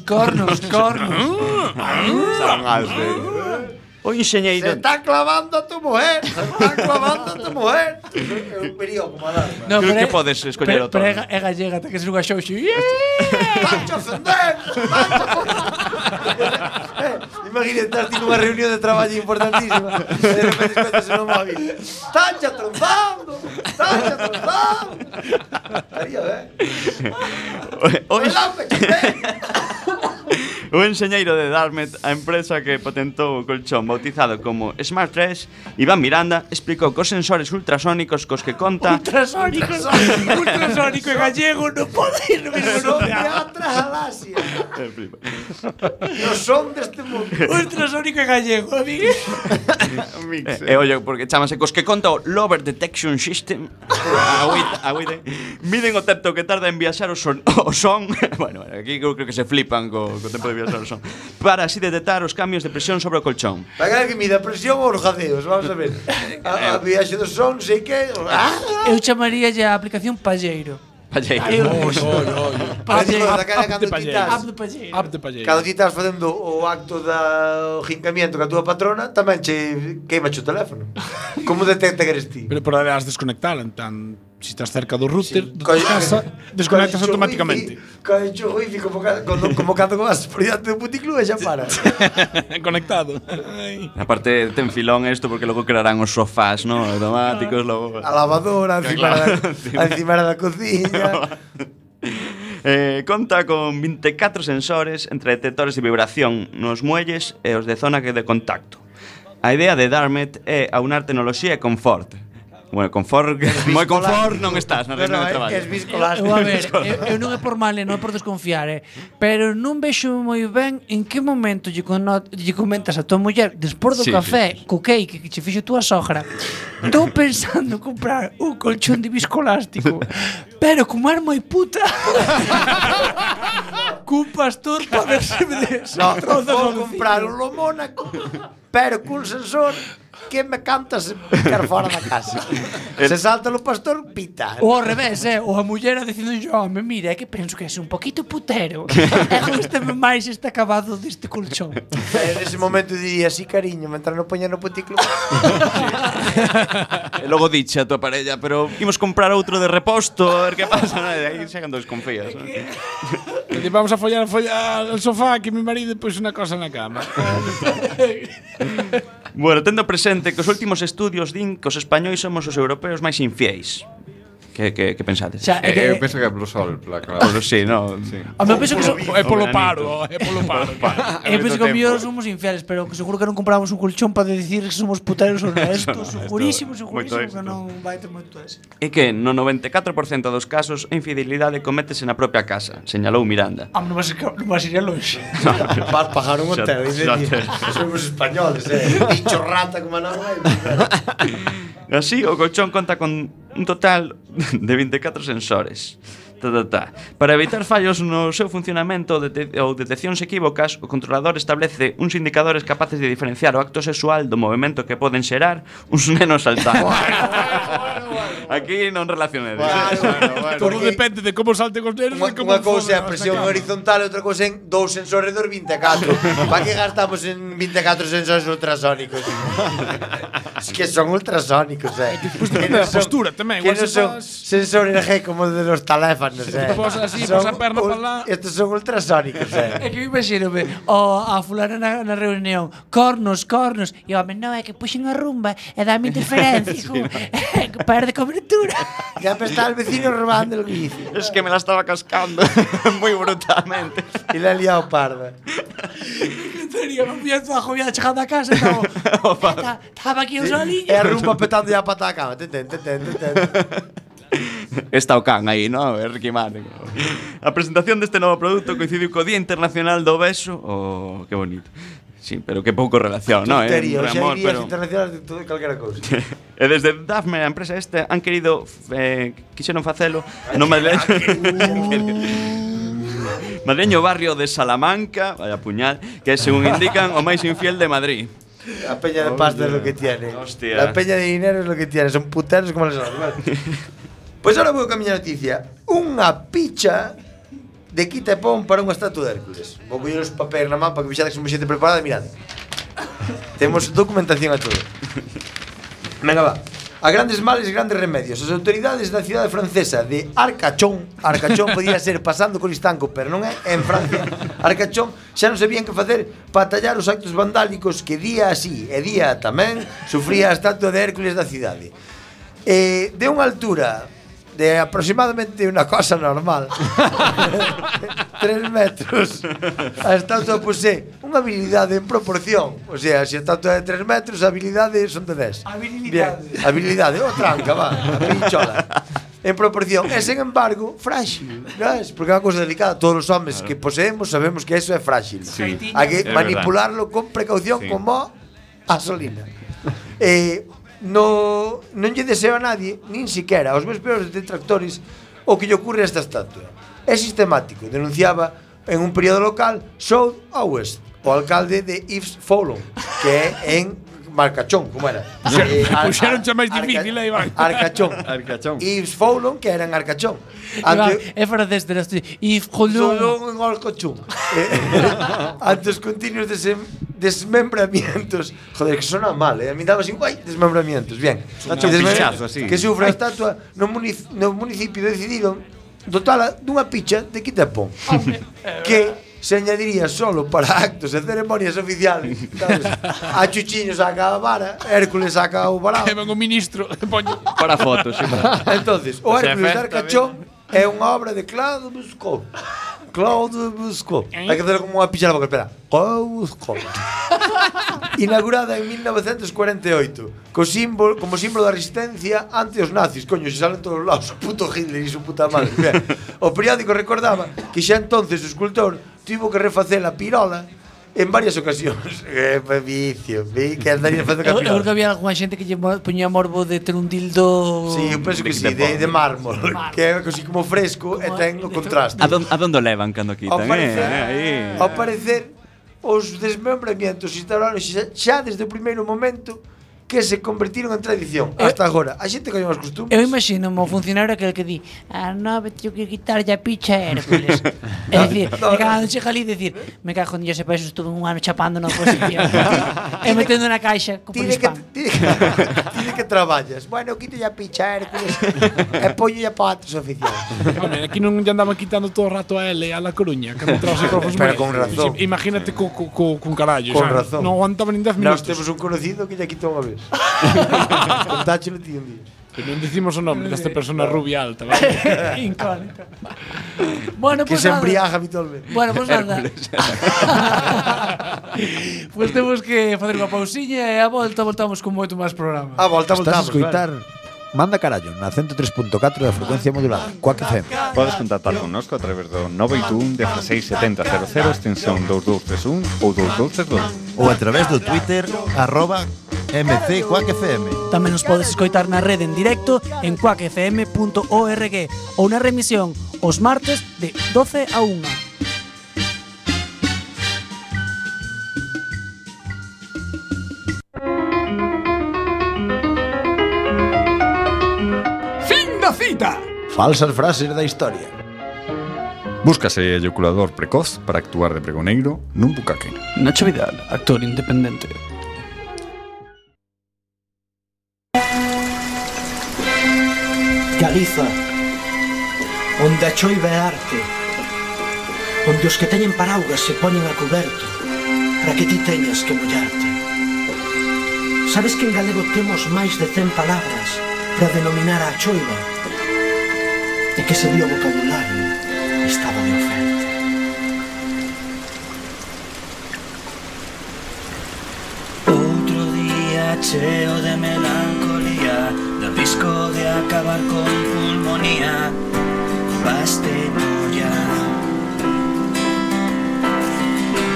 Speaker 3: cornos, cornos.
Speaker 5: O
Speaker 6: Se
Speaker 5: enxeñeiro...
Speaker 6: está clavando a tu mujer. Se está clavando a tu mujer. Es un período como alarma.
Speaker 3: No,
Speaker 5: Creo
Speaker 3: pero
Speaker 5: que
Speaker 3: é-
Speaker 5: podes escoller
Speaker 3: pero-
Speaker 5: o tono.
Speaker 3: Pero é ga- é gallega, te que ser unha xoxi.
Speaker 6: ¡Pancho Fender! ¡Pancho Imagínate estar en una reunión de trabajo importantísima. y De repente escuchas un móvil. ¡Tancha trompando! ¡Tancha trompando! Estaría, ¿eh?
Speaker 5: O, enx-
Speaker 6: ¡Hola, pechete!
Speaker 5: o enxeñeiro de Dartmouth, a empresa que patentou o colchón bautizado como Smart 3, Iván Miranda, explicou cos sensores ultrasónicos cos que conta...
Speaker 3: Ultrasónico, ultrasónico e gallego, non pode ir no mesmo
Speaker 6: ¡Son
Speaker 3: nome.
Speaker 6: de otras galaxias!
Speaker 5: Eh,
Speaker 6: ¡No son de este mundo!
Speaker 3: Ultrasónico e gallego, amigo.
Speaker 5: E, e ollo, Eh, porque chamase cos que conta o Lover Detection System Agüite, agüite Miden o tempo que tarda en viaxar o son, o son Bueno, aquí eu creo que se flipan co, co tempo de viaxar o son Para así detectar os cambios de presión sobre o colchón
Speaker 6: Va a creer que mi depresión o los jadeos, vamos a ver.
Speaker 5: Eh,
Speaker 6: A, a viaje do son, sei que... ¡Ah!
Speaker 3: Eu chamaría a aplicación Palleiro.
Speaker 5: Vallei
Speaker 3: Eu, Palleiro.
Speaker 6: Digo, da cara cando
Speaker 4: Palleiro.
Speaker 6: quitas.
Speaker 3: App do Palleiro.
Speaker 4: Up de palleiro.
Speaker 6: Cando ti estás facendo o acto da o jincamiento ca túa patrona, tamén che queima o teléfono. Como detecta que eres ti?
Speaker 4: Pero por ahora has desconectar, en tan si estás cerca do router de tu
Speaker 6: Colle-
Speaker 4: casa, desconectas
Speaker 6: colle o
Speaker 4: automáticamente.
Speaker 6: wifi- Colle o wifi como, ca- como, como cando vas por diante do puticlub e xa para.
Speaker 4: Conectado. Ai.
Speaker 5: Aparte, ten filón isto porque logo crearán os sofás, non? Automáticos, logo...
Speaker 6: A lavadora, a encimera da, a encimera da cociña.
Speaker 5: Eh, conta con 24 sensores entre detectores de vibración nos muelles e os de zona que de contacto. A idea de Darmet é aunar tecnoloxía e confort. Bueno, confort, moi confort non estás na reunión de traballo.
Speaker 6: é
Speaker 3: Eu,
Speaker 6: esviscolar.
Speaker 3: eu, a ver, eu, eu non é por mal, e non é por desconfiar, eh, pero non vexo moi ben en que momento lle, cono- lle comentas a tua muller despois do
Speaker 5: Sí,
Speaker 3: café co cake que che fixo túa sogra. Estou pensando en comprar un colchón de viscolástico, pero como é moi puta. cun pastor para ver se me des.
Speaker 6: No,
Speaker 3: trozo
Speaker 6: vou
Speaker 3: con
Speaker 6: comprar
Speaker 3: ciño.
Speaker 6: un lo Mónaco, pero cun sensor que me canta se ficar fora da casa. Se salta o pastor, pita.
Speaker 3: Ou ao revés, eh? Ou a muller dicindo yo, home, mira, é que penso que és un poquito putero. e gustame máis este acabado deste colchón.
Speaker 6: Eh, Nese momento diría, sí, cariño, mentre non poña no puticlub.
Speaker 5: E logo dixe a tua parella, pero imos comprar outro de reposto, a ver que pasa, non? E aí xa cando desconfías, non?
Speaker 4: Te vamos a follar, a follar al sofá que mi marido puso una cosa en la cama.
Speaker 5: Bueno, tendo presente que os últimos estudios din que os españois somos os europeos máis infiéis. Que, que, que pensades?
Speaker 3: Xa, é que,
Speaker 8: Eu penso que é polo sol, la claro.
Speaker 5: Pois sí, no.
Speaker 8: Sí.
Speaker 3: a meu penso que so,
Speaker 4: É polo paro, é polo paro.
Speaker 3: Eu penso que
Speaker 8: tempo.
Speaker 3: o mellor somos infieles, pero que seguro que non compramos un colchón para decir que somos puteros ou non. Isto, segurísimo,
Speaker 5: moito
Speaker 3: segurísimo que non vai ter moito ese.
Speaker 5: É que no 94% dos casos a infidelidade cométese na propia casa, señalou Miranda.
Speaker 3: Ah, non vas, a- non vas a ir a longe.
Speaker 6: Vas pagar un hotel,
Speaker 5: te-
Speaker 6: dice,
Speaker 5: xa
Speaker 6: tío,
Speaker 5: te-
Speaker 6: somos españoles, eh. Bicho rata como a nada.
Speaker 5: Así, o colchón conta con un total de 24 sensores. Ta, ta, ta. Para evitar fallos no seu funcionamento dete ou deteccións equívocas, o controlador establece uns indicadores capaces de diferenciar o acto sexual do movimento que poden xerar uns nenos saltando. Aquí non relacionedes.
Speaker 4: Todo depende de como salten os nenos
Speaker 6: Unha,
Speaker 4: e como
Speaker 6: unha cousa é a
Speaker 4: fodan
Speaker 6: presión
Speaker 4: hasta cá.
Speaker 6: horizontal e outra cousa en dous sensores dos 24. Pa que gastamos en 24 sensores ultrasónicos? es que son ultrasónicos, eh.
Speaker 4: Pois depende da postura tamén,
Speaker 6: Que
Speaker 4: igual
Speaker 6: non
Speaker 4: se
Speaker 6: son
Speaker 4: fas-
Speaker 6: sensores energéicos como de los teléfonos, eh.
Speaker 4: te posas así,
Speaker 6: Son
Speaker 4: pos a perna
Speaker 6: ul-
Speaker 4: pa lá.
Speaker 6: Estes son ultrasónicos, eh.
Speaker 3: É que eu imagínome o, a fulana na, na reunión Cornos, cornos E o home, non, é que puxen a rumba E dame interferencia como, é que Perde cobertura
Speaker 6: Ya me está el vecino robando el bici.
Speaker 5: Es que me la estaba cascando moi brutalmente.
Speaker 6: E la ha liado parda.
Speaker 3: Tenía un pienso a jovia chegando a casa Estaba aquí un
Speaker 6: E a
Speaker 3: soliño
Speaker 6: rumba petando ya pata a cama. Ten, ten, ten, ten, ten.
Speaker 5: Está o can aí, non? É Ricky Martin. A presentación deste novo produto coincidiu co Día Internacional do Beso. Oh, que bonito. Sí, pero que pouco relación, non? É
Speaker 6: Tontería,
Speaker 5: un
Speaker 6: hoxe hai
Speaker 5: amor,
Speaker 6: días
Speaker 5: pero...
Speaker 6: internacionales de todo e calquera cousa.
Speaker 5: E desde Dafne, a empresa este, han querido eh, quixeron facelo no madleño madleño barrio de Salamanca, vaya puñal, que según indican o máis infiel de Madrid.
Speaker 6: La peña de pasta es lo que tiene.
Speaker 5: Hostia.
Speaker 6: La peña de dinero es lo que tiene. Son puteros como los animales. pues ahora voy con mi noticia. Unha picha de quita e pon para unha estatua de Hércules. Vou coller os papéis na mapa que vixades que somos xente preparada e mirade. Temos documentación a todo. Venga, va. A grandes males, grandes remedios. As autoridades da cidade francesa de Arcachón, Arcachón podía ser pasando con Istanco, pero non é en Francia. Arcachón xa non sabían que facer para tallar os actos vandálicos que día así e día tamén sufría a estatua de Hércules da cidade. Eh, de unha altura de aproximadamente unha cosa normal tres metros a estatua posee unha habilidade en proporción o sea, se a estatua é de tres metros a habilidade son de 10
Speaker 3: Habilidade.
Speaker 6: Bien, habilidade, o tranca, va a pinchola en proporción e sen embargo, frágil non es? porque é unha cosa delicada todos os homes que poseemos sabemos que eso é frágil
Speaker 3: Sí.
Speaker 6: hai
Speaker 8: É
Speaker 6: que manipularlo con precaución
Speaker 8: Sí.
Speaker 6: como a solina eh, no, non lle deseo a nadie, nin siquiera aos meus peores detractores, o que lle ocurre a esta estatua. É sistemático, denunciaba en un período local South a West, o alcalde de Yves Foulon, que é en Marcachón, como era? Eh, Ar-
Speaker 4: puxéronche máis
Speaker 6: Arca-
Speaker 4: difícil, eh, Iván.
Speaker 6: Arcachón.
Speaker 8: Arcachón.
Speaker 6: Yves Foulon, que era en Arcachón. Ante-
Speaker 3: É francés de las E jolón
Speaker 6: Solo en Alcochum. Eh, Ante os continuos desem, desmembramientos. Joder, que sona mal, eh? A mí daba así, guai, desmembramientos. Bien.
Speaker 8: Dache un
Speaker 6: Desmem-
Speaker 8: pinchazo, así.
Speaker 6: Que sufre a estatua no, munic no municipio decidiron dotala dunha picha de quitapón. que se añadiría solo para actos e ceremonias oficiales. Sabes? A Chuchiño saca a vara, Hércules saca o varao.
Speaker 4: E ven o ministro, e poño
Speaker 5: Para fotos, sí.
Speaker 6: Entonces, o
Speaker 5: O sea,
Speaker 6: Hércules de
Speaker 5: festa,
Speaker 6: Arcachón é unha obra de Claude Busco. Claude Busco. Hai que hacer como unha pichada boca, espera. Claude Busco. Inaugurada en 1948 co símbolo, como símbolo da resistencia ante os nazis, coño, se salen todos os lados o puto Hitler e su puta madre Bien. o periódico recordaba que xa entonces o escultor tivo que refacer a pirola en varias ocasións que vicio, vi que andaría facendo
Speaker 3: Eu,
Speaker 6: ca
Speaker 3: eu creo que
Speaker 6: pirola
Speaker 3: había alguna xente que lle mo- poñía morbo de ter un dildo
Speaker 6: Sí, eu penso que sí, de, de mármol, que é así como fresco e ten o contraste.
Speaker 5: A, don, a donde o levan cando
Speaker 6: Ao
Speaker 5: quitan, eh?
Speaker 6: parecer,
Speaker 5: Aí.
Speaker 6: ao parecer os desmembramientos instauraron xa, xa desde o primeiro momento que se convertiron en tradición hasta agora. A xente coñe as costumes.
Speaker 3: Eu imagino o funcionario aquel que di A nove teño que quitarlle a picha a Hércules É dicir,
Speaker 6: no,
Speaker 3: no, cando chega ali decir Me cago en Dios e para eso estuve un ano chapando na oposición E metendo na caixa con
Speaker 6: Tiene que,
Speaker 3: polispam
Speaker 6: tiene que, tiene que traballas. Bueno, quito ya picha, Hércules. e poño ya para atos oficiales.
Speaker 4: Home, aquí non lle andaban quitando todo o rato a L a La Coruña, cando entraba os micrófonos.
Speaker 6: Pero
Speaker 4: máis.
Speaker 6: con razón.
Speaker 4: Sí, Imagínate co, co, co, con carallo,
Speaker 6: Con
Speaker 4: sabes?
Speaker 6: razón.
Speaker 4: Non aguantaban nin
Speaker 6: Nós
Speaker 4: 10
Speaker 6: um
Speaker 4: minutos.
Speaker 6: temos un conocido que ya quitou unha vez. Contáchelo ti un día.
Speaker 4: Pero non dicimos o nome desta persona rubia alta, vale?
Speaker 3: Incógnita. Bueno,
Speaker 6: Que
Speaker 11: Pois
Speaker 3: pues
Speaker 6: se
Speaker 3: nada.
Speaker 6: embriaga habitualmente.
Speaker 3: Bueno, pues nada. pues temos que facer unha pausiña e a volta voltamos con moito máis programa.
Speaker 6: A volta,
Speaker 2: Estás a
Speaker 6: voltamos.
Speaker 2: escoitar Manda Carallo na 103.4 da frecuencia modulada. Cuac FM.
Speaker 8: Podes contactar connosco a través do 921 16 70 00 extensión 2231 ou 2232.
Speaker 12: ou a través do Twitter arroba mcquackfm.
Speaker 11: Tamén nos podes escoitar na rede en directo en cuacfm.org ou na remisión os martes de 12 a 1.
Speaker 1: Fin da cita.
Speaker 2: Falsas frases da historia.
Speaker 8: Búscase eyaculador precoz para actuar de pregoneiro nun bucaque.
Speaker 5: Nacho Vidal, actor independente.
Speaker 11: Galiza Onde a choiva é arte Onde os que teñen paraugas se poñen a coberto Para que ti teñas que mollarte Sabes que en galego temos máis de 100 palabras
Speaker 5: eh?
Speaker 11: Para denominar a choiva E que se vio vocabulario Estaba de oferta Outro día cheo de melancolía Da risco de acabar con pulmonía Bastenoia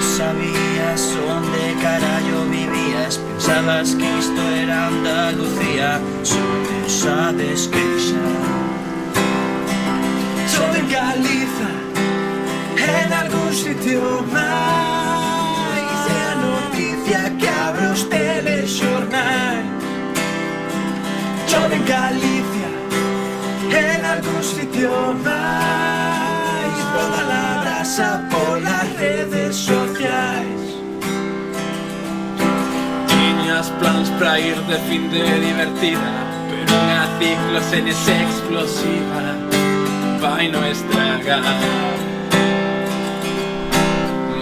Speaker 11: Sabías onde carallo vivías Pensabas que isto era Andalucía Só pensades que xa Só en Galiza En algún sitio máis É a noticia que abre os telexornais Só en Galicia en algún sitio máis Toda la brasa polas redes sociais
Speaker 1: Tiñas plans pra ir de fin de divertida Pero unha ciclosenes explosiva Vai no estragar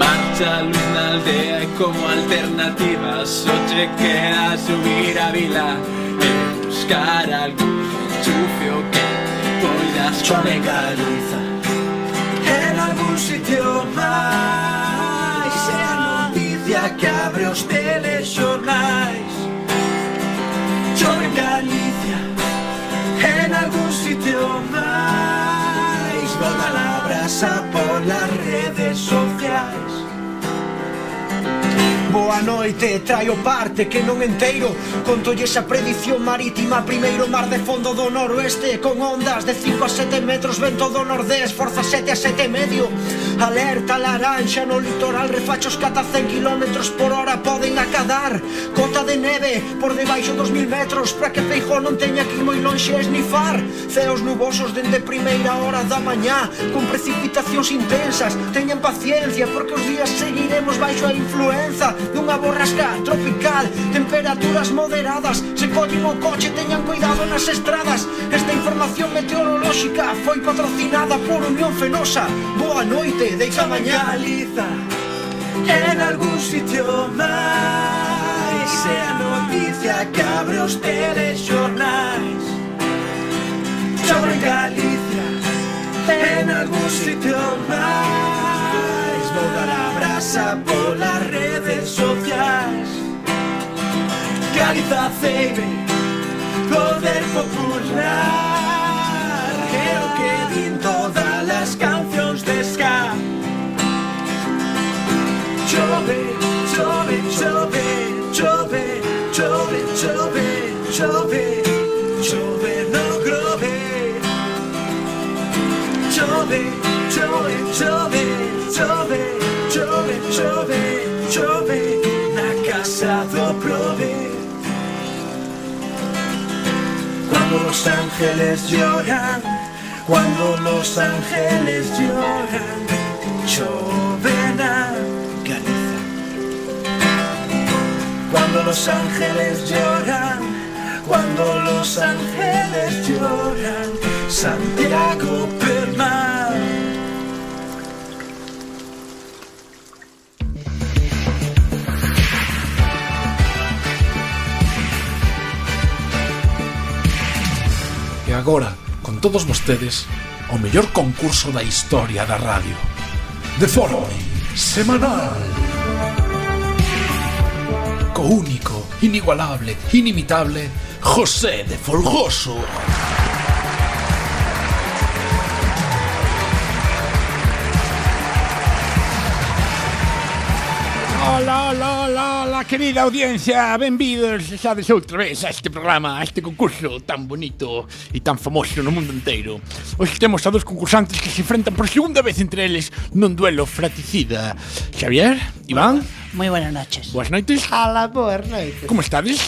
Speaker 1: Marcha luz na aldea e como alternativa Só che queda subir a vila E buscar algún enchufio que te poidas conectar
Speaker 11: En algún sitio máis É a noticia que abre os telexornais Chove en Galicia En algún sitio máis Toda la brasa polas redes sociais Boa noite, traio parte que non enteiro Contolle esa predición marítima Primeiro mar de fondo do noroeste Con ondas de 5 a 7 metros Vento do nordés, forza 7 a 7 e medio Alerta laranxa no litoral Refachos cata 100 km por hora Poden acadar Cota de neve por debaixo dos mil metros Pra que Feijó non teña que ir moi lonxe a esnifar Ceos nubosos dende primeira hora da mañá Con precipitacións intensas Teñan paciencia porque os días seguiremos baixo a influenza Dunha borrasca tropical Temperaturas moderadas Se collen o coche teñan cuidado nas estradas Esta información meteorolóxica Foi patrocinada por Unión Fenosa Boa noite, deixa mañá Galiza en algún sitio máis É a noticia que abre os telexornais Sobre Galicia En algún sitio máis Vou dar a brasa polas redes sociais Galiza Ceibe Poder popular É o que din todas as cancións de ska Chove, chove, chove, chove, chove, chove, chove, chove no grove. Chove, chove, chove, chove, chove, chove, chove na casa do prove. Cuando los ángeles lloran, cuando los ángeles lloran, lloven a Galiza. Cuando los ángeles lloran, cuando los ángeles lloran, Santiago Permal.
Speaker 10: agora con todos vostedes o mellor concurso da historia da radio. De forma semanal. Co único, inigualable, inimitable, José de Folgoso.
Speaker 4: Hola, hola, hola, hola, querida audiencia, benvidos sabes outra vez a este programa, a este concurso tan bonito e tan famoso no mundo inteiro. Hoxe temos a dos concursantes que se enfrentan por segunda vez entre eles nun duelo fratricida. Xavier, Iván,
Speaker 13: Muy buenas noches.
Speaker 4: boas noites.
Speaker 13: Hola, boas noites.
Speaker 4: Como estades?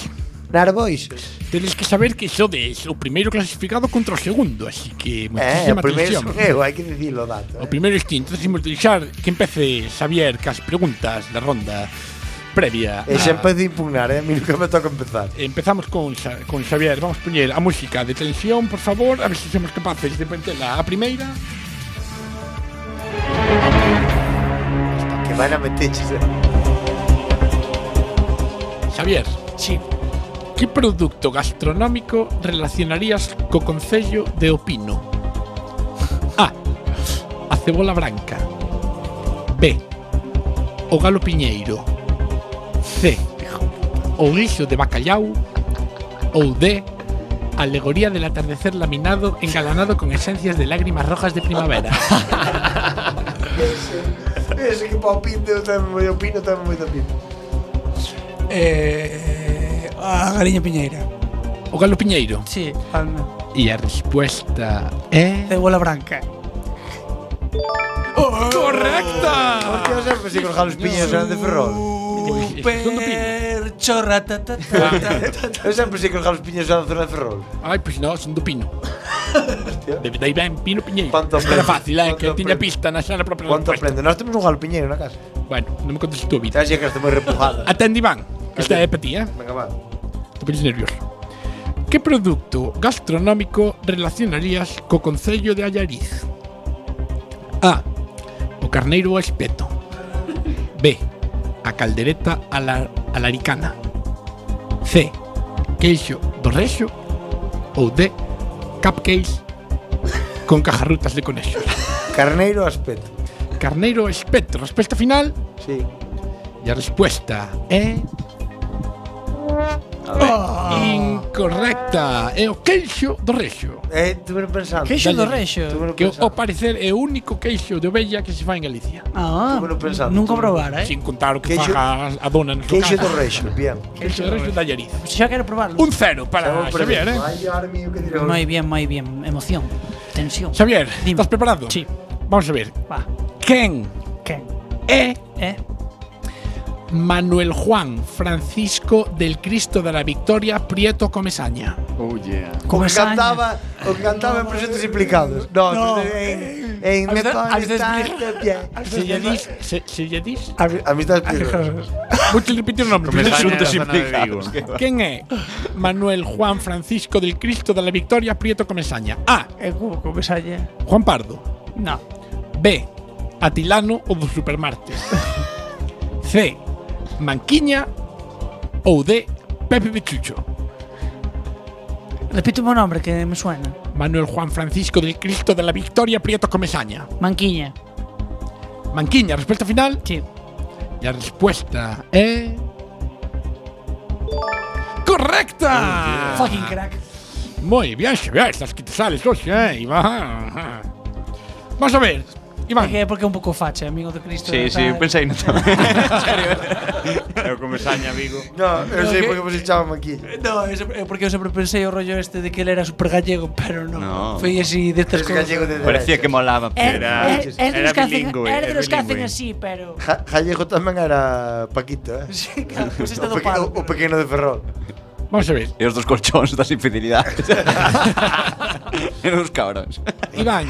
Speaker 13: Narbois.
Speaker 4: Tedes que saber que sodes o primeiro clasificado contra o segundo, así
Speaker 6: Eh, o
Speaker 4: que moitísima
Speaker 6: primeiro
Speaker 4: atención.
Speaker 6: son eu, hai que dicirlo dato.
Speaker 4: O primeiro é que entonces imos deixar que empece Xavier cas preguntas da ronda previa.
Speaker 6: E
Speaker 4: a-
Speaker 6: sempre de impugnar, eh? a mí nunca me toca empezar.
Speaker 4: Empezamos con, Xa- con Xavier. Vamos poñer a música de tensión, por favor, a ver se somos capaces de poñerla a primeira.
Speaker 6: Que van a meterse.
Speaker 4: Xavier. Sí. Que produto gastronómico relacionarías co Concello de Opino? A. A cebola branca. B. O galo piñeiro. C. O guiso de bacallau. Ou D. Alegoría del atardecer laminado engalanado con esencias de lágrimas rojas de primavera.
Speaker 6: Ese que palpite, eu tamén moi opino, tamén moi opino.
Speaker 3: Eh, a Gariña Piñeira.
Speaker 4: O Galo Piñeiro?
Speaker 3: Sí, anda.
Speaker 4: E a respuesta é...
Speaker 3: Cebola branca.
Speaker 4: ¡Correcta!
Speaker 6: Porque eu sempre sigo os galos piñeiros eran de Ferrol.
Speaker 3: Super chorra. ta, ta, ta, ta, ta.
Speaker 6: Eu sempre sigo os galos piñeiros eran de zona de Ferrol.
Speaker 4: Ai, pois non, son do Pino. de, daí ben, Pino Piñeiro.
Speaker 6: Cuánto
Speaker 4: Era
Speaker 6: aprende-
Speaker 4: fácil, eh,
Speaker 6: cuánto
Speaker 4: que tiña
Speaker 6: aprende-
Speaker 4: pista na xa na propia
Speaker 6: Cuánto
Speaker 4: respuesta.
Speaker 6: aprende? Nós temos un galo piñeiro na casa.
Speaker 4: Bueno, non me contes tú a vida.
Speaker 6: Xa que estou moi repujado.
Speaker 4: Atende, Iván, que esta é para ti, eh?
Speaker 6: Venga, va.
Speaker 4: Te pones nervioso. Que producto gastronómico relacionarías co Concello de Allariz? A. O carneiro ao espeto. B. A caldereta a la, alaricana. C. Queixo do rexo. Ou D. Cupcakes con cajarrutas de conexos.
Speaker 6: Carneiro aspecto.
Speaker 4: Carneiro ao espeto. Resposta final.
Speaker 6: Sí.
Speaker 4: E a resposta é... Oh. Incorrecta. É o queixo do rexo.
Speaker 6: Eh, estuve pensando.
Speaker 4: Queixo do
Speaker 3: rexo.
Speaker 4: Que
Speaker 11: Oh,
Speaker 4: ao parecer é o único queixo de ovella que se fai en Galicia.
Speaker 3: Ah,
Speaker 6: Túvelo pensado,
Speaker 3: nunca
Speaker 6: túvelo.
Speaker 3: probara, eh.
Speaker 4: Sin contar o que
Speaker 6: Queixo-
Speaker 4: faga a dona no seu
Speaker 6: Queixo
Speaker 4: caso.
Speaker 6: do rexo, bien.
Speaker 4: Queixo do rexo da Llariz.
Speaker 3: Pues ya quiero probarlo.
Speaker 4: Un cero para Xavier, eh.
Speaker 6: Ay, Armin, eu que diré.
Speaker 13: Muy bien, muy bien. Emoción. Tensión.
Speaker 4: Xavier,
Speaker 13: Dime.
Speaker 4: estás preparado?
Speaker 13: Sí.
Speaker 4: Vamos a ver.
Speaker 13: Va.
Speaker 4: Quen
Speaker 13: ¿Qué?
Speaker 4: é
Speaker 13: ¿Eh?
Speaker 4: Manuel Juan Francisco del Cristo de la Victoria Prieto Comesaña?
Speaker 8: Oh, yeah.
Speaker 6: O que
Speaker 13: Comesaña.
Speaker 6: cantaba, o que cantaba en Presentos Implicados. No,
Speaker 3: No.
Speaker 6: en, en
Speaker 3: A
Speaker 6: Me
Speaker 3: veces- a
Speaker 6: Pones
Speaker 3: veces-
Speaker 6: Tanto Pie.
Speaker 4: Se lle dis... Se, se lle dis...
Speaker 6: A mí está
Speaker 4: Voute repetir o nome.
Speaker 5: Comesaña
Speaker 4: Presunto
Speaker 5: era
Speaker 4: sin
Speaker 5: a zona de
Speaker 4: picar.
Speaker 5: Vigo.
Speaker 4: Quen é Manuel Juan Francisco del Cristo de la Victoria Prieto Comesaña? A.
Speaker 3: Eh, como comesaña.
Speaker 4: Juan Pardo.
Speaker 3: No.
Speaker 4: B. Atilano o do Supermartes. C. Manquiña ou D. Pepe Bichucho.
Speaker 13: Repíteme un nombre que me suena.
Speaker 4: Manuel Juan Francisco del Cristo de la Victoria Prieto Comesaña.
Speaker 13: Manquiña.
Speaker 4: Manquiña, resposta final.
Speaker 13: Sí.
Speaker 4: E a resposta é Correcta!
Speaker 3: Oh, Fucking crack.
Speaker 4: Moi bien, Xavier, estás que te sales hoxe, eh, Iván. Vamos a ver, Iván.
Speaker 3: Porque, porque é un pouco facha, amigo de Cristo.
Speaker 5: Sí, sí,
Speaker 3: tal.
Speaker 5: eu pensei no tamén. En serio. Eu comesaña, amigo.
Speaker 6: No, eu sei
Speaker 3: que-
Speaker 6: porque vos echábamos aquí.
Speaker 3: No, é sempre- é porque eu sempre pensei o rollo este de que ele era super gallego, pero non.
Speaker 5: No.
Speaker 3: Foi así destas
Speaker 6: Es
Speaker 3: cousas.
Speaker 6: gallego de
Speaker 5: Parecía que molaba,
Speaker 3: Eh.
Speaker 14: Er,
Speaker 5: pero
Speaker 13: Era,
Speaker 5: era...
Speaker 13: es, es de
Speaker 5: era
Speaker 13: los que hacen,
Speaker 5: bilingüe,
Speaker 13: es de
Speaker 5: era
Speaker 13: los que hacen
Speaker 5: bilingüe.
Speaker 13: así, pero.
Speaker 6: Ja- Gallego tamén era Paquito, eh?
Speaker 3: Sí, claro, pues está
Speaker 6: O, peque-
Speaker 3: dopado.
Speaker 6: o- o pequeno de Ferrol.
Speaker 4: Vamos a ver,
Speaker 5: E os dos colchóns das infidelidades. Eran os cabróns.
Speaker 4: Iván,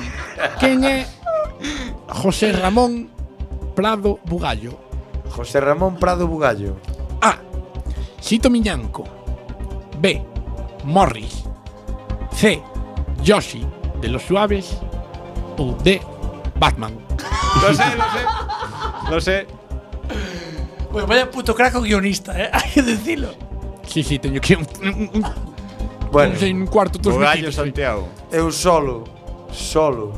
Speaker 4: quen é José Ramón Prado Bugallo?
Speaker 6: José Ramón Prado Bugallo.
Speaker 4: A. Sito Miñanco. B. Morris. C. Yoshi de los Suaves. Ou D. Batman.
Speaker 8: Lo sé, lo sé. Lo sé.
Speaker 3: Bueno, vaya puto crack o guionista, eh. Hay que decirlo.
Speaker 4: Sí, sí, teño que un, un, un
Speaker 6: Bueno.
Speaker 4: Once e un cuarto tus
Speaker 6: O gallo
Speaker 4: metidos aí.
Speaker 8: Santiago.
Speaker 6: Eu solo, solo,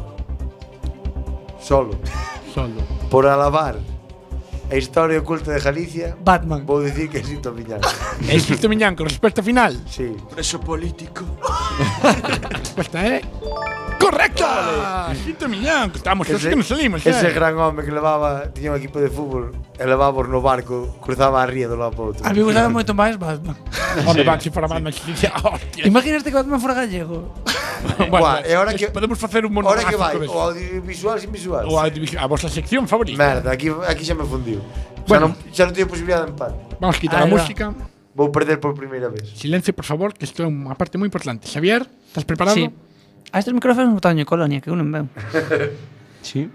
Speaker 6: solo,
Speaker 4: solo,
Speaker 6: por alabar a historia oculta de Galicia,
Speaker 3: Batman.
Speaker 6: vou dicir que Sito Miñán.
Speaker 4: É Sito Miñán, con resposta final?
Speaker 6: Sí.
Speaker 10: Preso político.
Speaker 4: Resposta é… Correcta! Sito Miñán, que estamos os que nos salimos,
Speaker 6: ese
Speaker 4: eh.
Speaker 6: gran home que levaba, tiña un equipo de fútbol, e levábamos no barco, cruzaba a ría do lado para outro.
Speaker 3: A mí me gustaba moito máis Batman.
Speaker 4: Onde van se para Batman Hostia.
Speaker 3: Imagínate que Batman fora gallego.
Speaker 6: Buah, e ahora que
Speaker 4: podemos facer un
Speaker 6: Ahora que
Speaker 4: monográfico
Speaker 6: vai,
Speaker 4: deste.
Speaker 6: o audiovisual sin visual.
Speaker 4: O audiovisual- a vosa sección favorita.
Speaker 6: Merda, aquí aquí xa me fundiu.
Speaker 4: Bueno.
Speaker 6: Bueno, xa non, xa non teño posibilidade de empate.
Speaker 4: Vamos quitar a música.
Speaker 6: Vou perder por primeira vez.
Speaker 4: Silencio, por favor, que isto é unha parte moi importante. Xavier, estás preparado?
Speaker 14: Sí. A este estes micrófonos botaron en Mm. colonia, que eu non veo.
Speaker 10: Sí.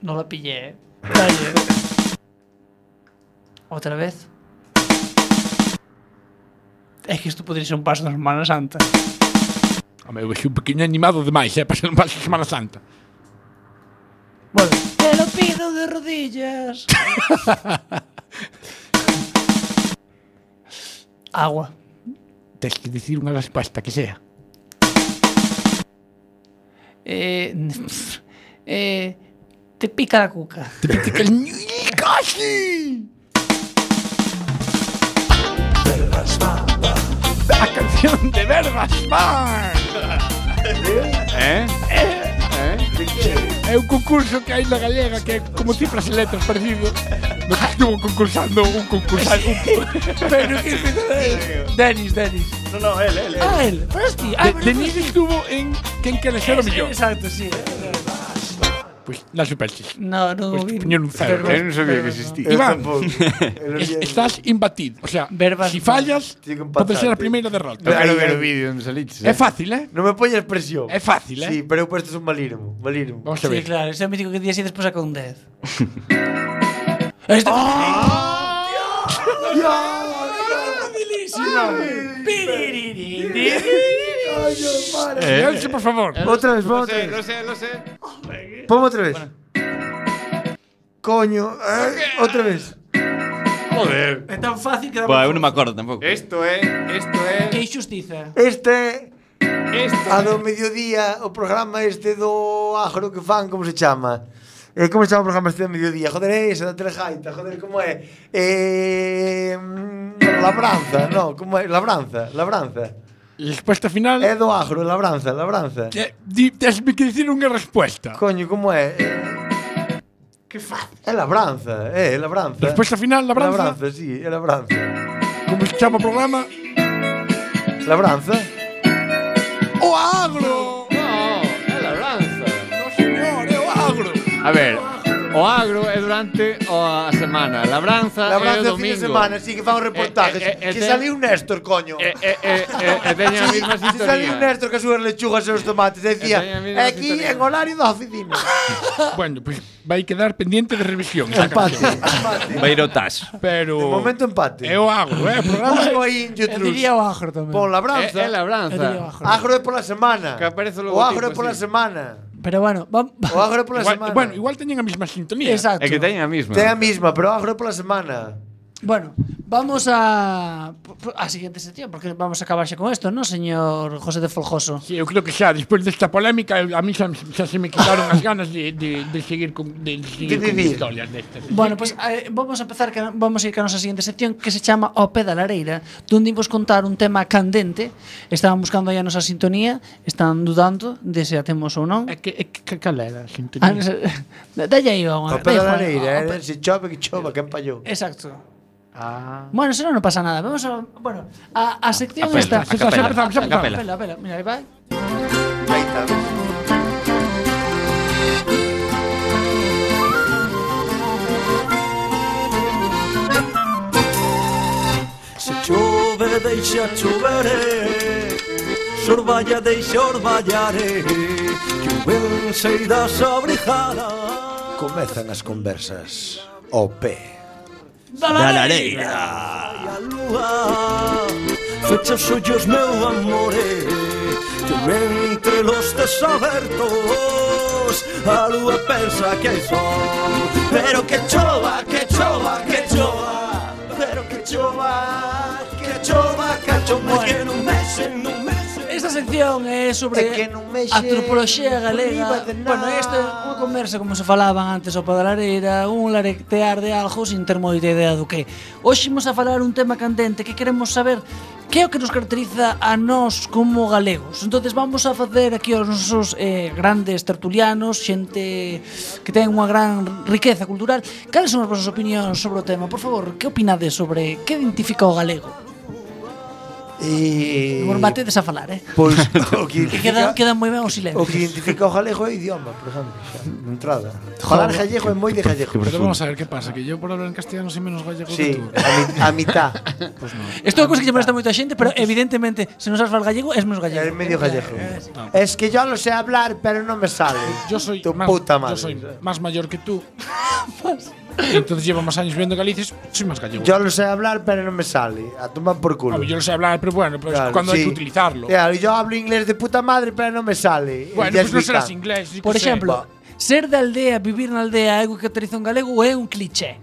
Speaker 14: non la pillé, eh. Dalle. Outra vez. É que isto podría ser un paso da Semana Santa.
Speaker 4: Home, eu vexo un pequeno animado demais, eh, para ser un paso de Semana Santa.
Speaker 14: Te lo pido de rodillas. Agua.
Speaker 4: Tens que dicir unha resposta que sea.
Speaker 14: Eh, eh, te pica la cuca.
Speaker 4: Te pica el ¡Casi! La canción de Verbas Bar.
Speaker 11: Eh?
Speaker 4: Eh? É un concurso que hai na galega que é como cifras e letras parecido. No que estuvo concursando un concursante.
Speaker 11: Pero que
Speaker 4: Denis, Denis.
Speaker 11: No, no, él, él.
Speaker 4: Ah, él.
Speaker 11: Frosty.
Speaker 4: De- Denis estuvo en Quen quere ser o millón. Pues,
Speaker 3: Exacto, sí.
Speaker 4: Pois na
Speaker 14: Ah,
Speaker 4: superstes.
Speaker 3: No, no
Speaker 4: Pois
Speaker 3: vi.
Speaker 4: puñeron Pues un cero.
Speaker 3: Pero- Eu non sabía pero- que existía. Eu
Speaker 4: Iván,
Speaker 3: tampouco. Eu non
Speaker 4: es-
Speaker 3: sabía.
Speaker 4: estás imbatido. O sea, si fallas, pode ser a primeira derrota.
Speaker 8: Eu quero ver o vídeo onde saliches.
Speaker 4: É fácil, eh?
Speaker 6: Non me poñas presión.
Speaker 4: É fácil, eh?
Speaker 6: Sí, pero eu puesto un malíramo, malíramo.
Speaker 4: Vamos
Speaker 3: Sí, claro, ese mítico que día así despois saca un 10. Este
Speaker 4: Eh, Elche, por favor.
Speaker 6: Outra vez,
Speaker 8: Lo
Speaker 6: outra
Speaker 8: sé, lo
Speaker 6: vez.
Speaker 8: sé, lo sé.
Speaker 6: Ponme outra vez. Coño, eh, outra vez.
Speaker 10: Joder.
Speaker 3: É tan fácil que dá
Speaker 10: Buah, eu non me acordo tampouco.
Speaker 8: Esto é, esto é.
Speaker 4: Eh,
Speaker 3: Que injustiza.
Speaker 6: Este este a do mediodía, o programa este do agro que fan, como se chama? Eh, como se chama o programa este do mediodía? Joder, é ese da Telejaita, joder, como é? Eh, mm, labranza, no, como é? Labranza, labranza.
Speaker 4: Resposta final?
Speaker 6: É do agro, labranza, labranza.
Speaker 4: Que, di, tesme que dicir unha resposta.
Speaker 6: Coño, como é? Que fácil. É labranza, é, é labranza.
Speaker 4: Resposta final, labranza?
Speaker 6: Labranza, sí, é labranza.
Speaker 4: Como se chama o programa?
Speaker 6: Labranza.
Speaker 4: O agro.
Speaker 8: No, é labranza.
Speaker 4: No, señor, é o agro.
Speaker 8: A ver, o agro é durante a semana. Labranza, é o
Speaker 6: Labranza fin
Speaker 8: domingo.
Speaker 6: de semana, sí, que fan os reportajes.
Speaker 8: Eh, eh, eh, eh,
Speaker 6: que saliu Néstor, coño.
Speaker 8: E, e, e, e, e teño a mesma
Speaker 6: Se
Speaker 8: sintonía.
Speaker 6: saliu Néstor que as lechugas e os tomates, e decía,
Speaker 4: teño a mesma
Speaker 6: aquí en horario da oficina.
Speaker 4: bueno, pois pues, vai quedar pendiente de revisión. esa
Speaker 6: Empate,
Speaker 4: canción.
Speaker 10: Vai ir ao tas.
Speaker 4: Pero...
Speaker 6: De momento empate.
Speaker 4: É o agro, é o programa.
Speaker 6: Ponlo aí en YouTube.
Speaker 3: Eu diría o agro tamén.
Speaker 6: Pon labranza.
Speaker 8: É- é labranza. Eu diría o
Speaker 3: agro.
Speaker 6: Agro é pola semana.
Speaker 8: Eh, Que aparece o
Speaker 6: o
Speaker 8: logotipo,
Speaker 6: agro é pola
Speaker 8: sí.
Speaker 6: semana.
Speaker 3: Pero bueno, vamos.
Speaker 6: O agro é pola
Speaker 4: Igual-
Speaker 6: semana.
Speaker 4: Bueno, igual teñen a mesma sintonía.
Speaker 3: Exacto.
Speaker 8: É que teñen a mesma.
Speaker 6: Ten a misma, pero o agro é pola semana.
Speaker 3: Bueno, vamos a a siguiente sección porque vamos a acabarse con esto, ¿no, señor José de Foljoso?
Speaker 4: Sí, eu creo que xa, despois desta polémica, a mí xa, xa se me quitaron as ganas de, de, de seguir con, de, de seguir
Speaker 3: De
Speaker 4: con
Speaker 3: vivir.
Speaker 4: historias destas.
Speaker 3: Bueno, pois pues, eh, vamos a empezar que, vamos a ir ca nosa seguinte sección que se chama O Pé da Lareira, onde imos contar un tema candente. Estaban buscando aí a nosa sintonía, están dudando de se a temos ou non.
Speaker 4: É que, é que cal era a sintonía?
Speaker 3: Ah, non sei. Dalle aí
Speaker 6: O
Speaker 3: unha.
Speaker 6: Pedro
Speaker 3: dalle,
Speaker 6: Lareira,
Speaker 3: o
Speaker 6: eh? se chove que chova, que empallou.
Speaker 3: Exacto.
Speaker 4: Ah.
Speaker 3: Bueno, eso non pasa nada. Vamos a, bueno, a, a sección
Speaker 4: capela,
Speaker 3: está.
Speaker 4: a capela, a capela.
Speaker 3: A capela, Mira, aí vai.
Speaker 11: Se chove, deixa chovere Sorballa, deixa orballaré Que o ben se irá sobre jara
Speaker 15: Comezan as conversas ao pé
Speaker 11: Da lareira. lúa Fecha os ollos, meu amore Que o ben entre los desabertos A lúa pensa que hai sol Pero que chova, que chova, que chova Pero que
Speaker 1: que chova, que chova, cacho, que non mexe, non mexe.
Speaker 3: Esta sección é sobre
Speaker 1: É que non mexe
Speaker 3: a antropoloxía galega.
Speaker 1: oliva de nada.
Speaker 3: Bueno, esta é unha conversa como se falaban antes ao Padalarera, un larectear de algo sin ter moita idea do que. Hoxe imos a falar un tema candente que queremos saber que é o que nos caracteriza a nós como galegos. Entonces vamos a facer aquí aos nosos eh, grandes tertulianos, xente que ten unha gran riqueza cultural. Cales son as vosas opinións sobre o tema? Por favor, que opinades sobre que identifica o galego?
Speaker 6: Eh,
Speaker 3: Non vos batedes a falar, eh?
Speaker 6: Pois pues, o que
Speaker 3: Que queda, queda moi ben o silencio.
Speaker 6: O que identifica o galego é o idioma, por exemplo, xa, de entrada. Falar gallego é moi de gallego.
Speaker 4: Pero vamos a ver qué pasa, que yo por hablar en castellano soy menos gallego que
Speaker 6: Sí,
Speaker 4: tú.
Speaker 6: a, mi, a mitad.
Speaker 4: Pues no.
Speaker 3: Isto é unha cousa que lle molesta moito a xente, pero evidentemente, se non sabes falar gallego, es menos gallego. É
Speaker 6: medio gallego. Es que yo lo sé hablar, pero no me sale.
Speaker 4: Yo soy
Speaker 6: tu
Speaker 4: más,
Speaker 6: puta madre.
Speaker 4: Yo soy más mayor que tú. Entonces llevo más años viviendo en Galicia, y soy más gallego.
Speaker 6: Yo lo sé hablar, pero no me sale. A tomar por culo.
Speaker 4: A ver, yo lo sé hablar, pero bueno, pues
Speaker 6: Claro,
Speaker 4: cuando hay
Speaker 6: sí.
Speaker 4: que utilizarlo.
Speaker 6: Claro, yo hablo inglés de puta madre, pero no me sale.
Speaker 4: Bueno,
Speaker 6: Ya
Speaker 4: pues no
Speaker 6: explica.
Speaker 4: serás inglés. yo qué
Speaker 3: Por
Speaker 4: sé.
Speaker 3: exemplo, ser da aldea, vivir na aldea, é algo que caracteriza un galego ou é un cliché?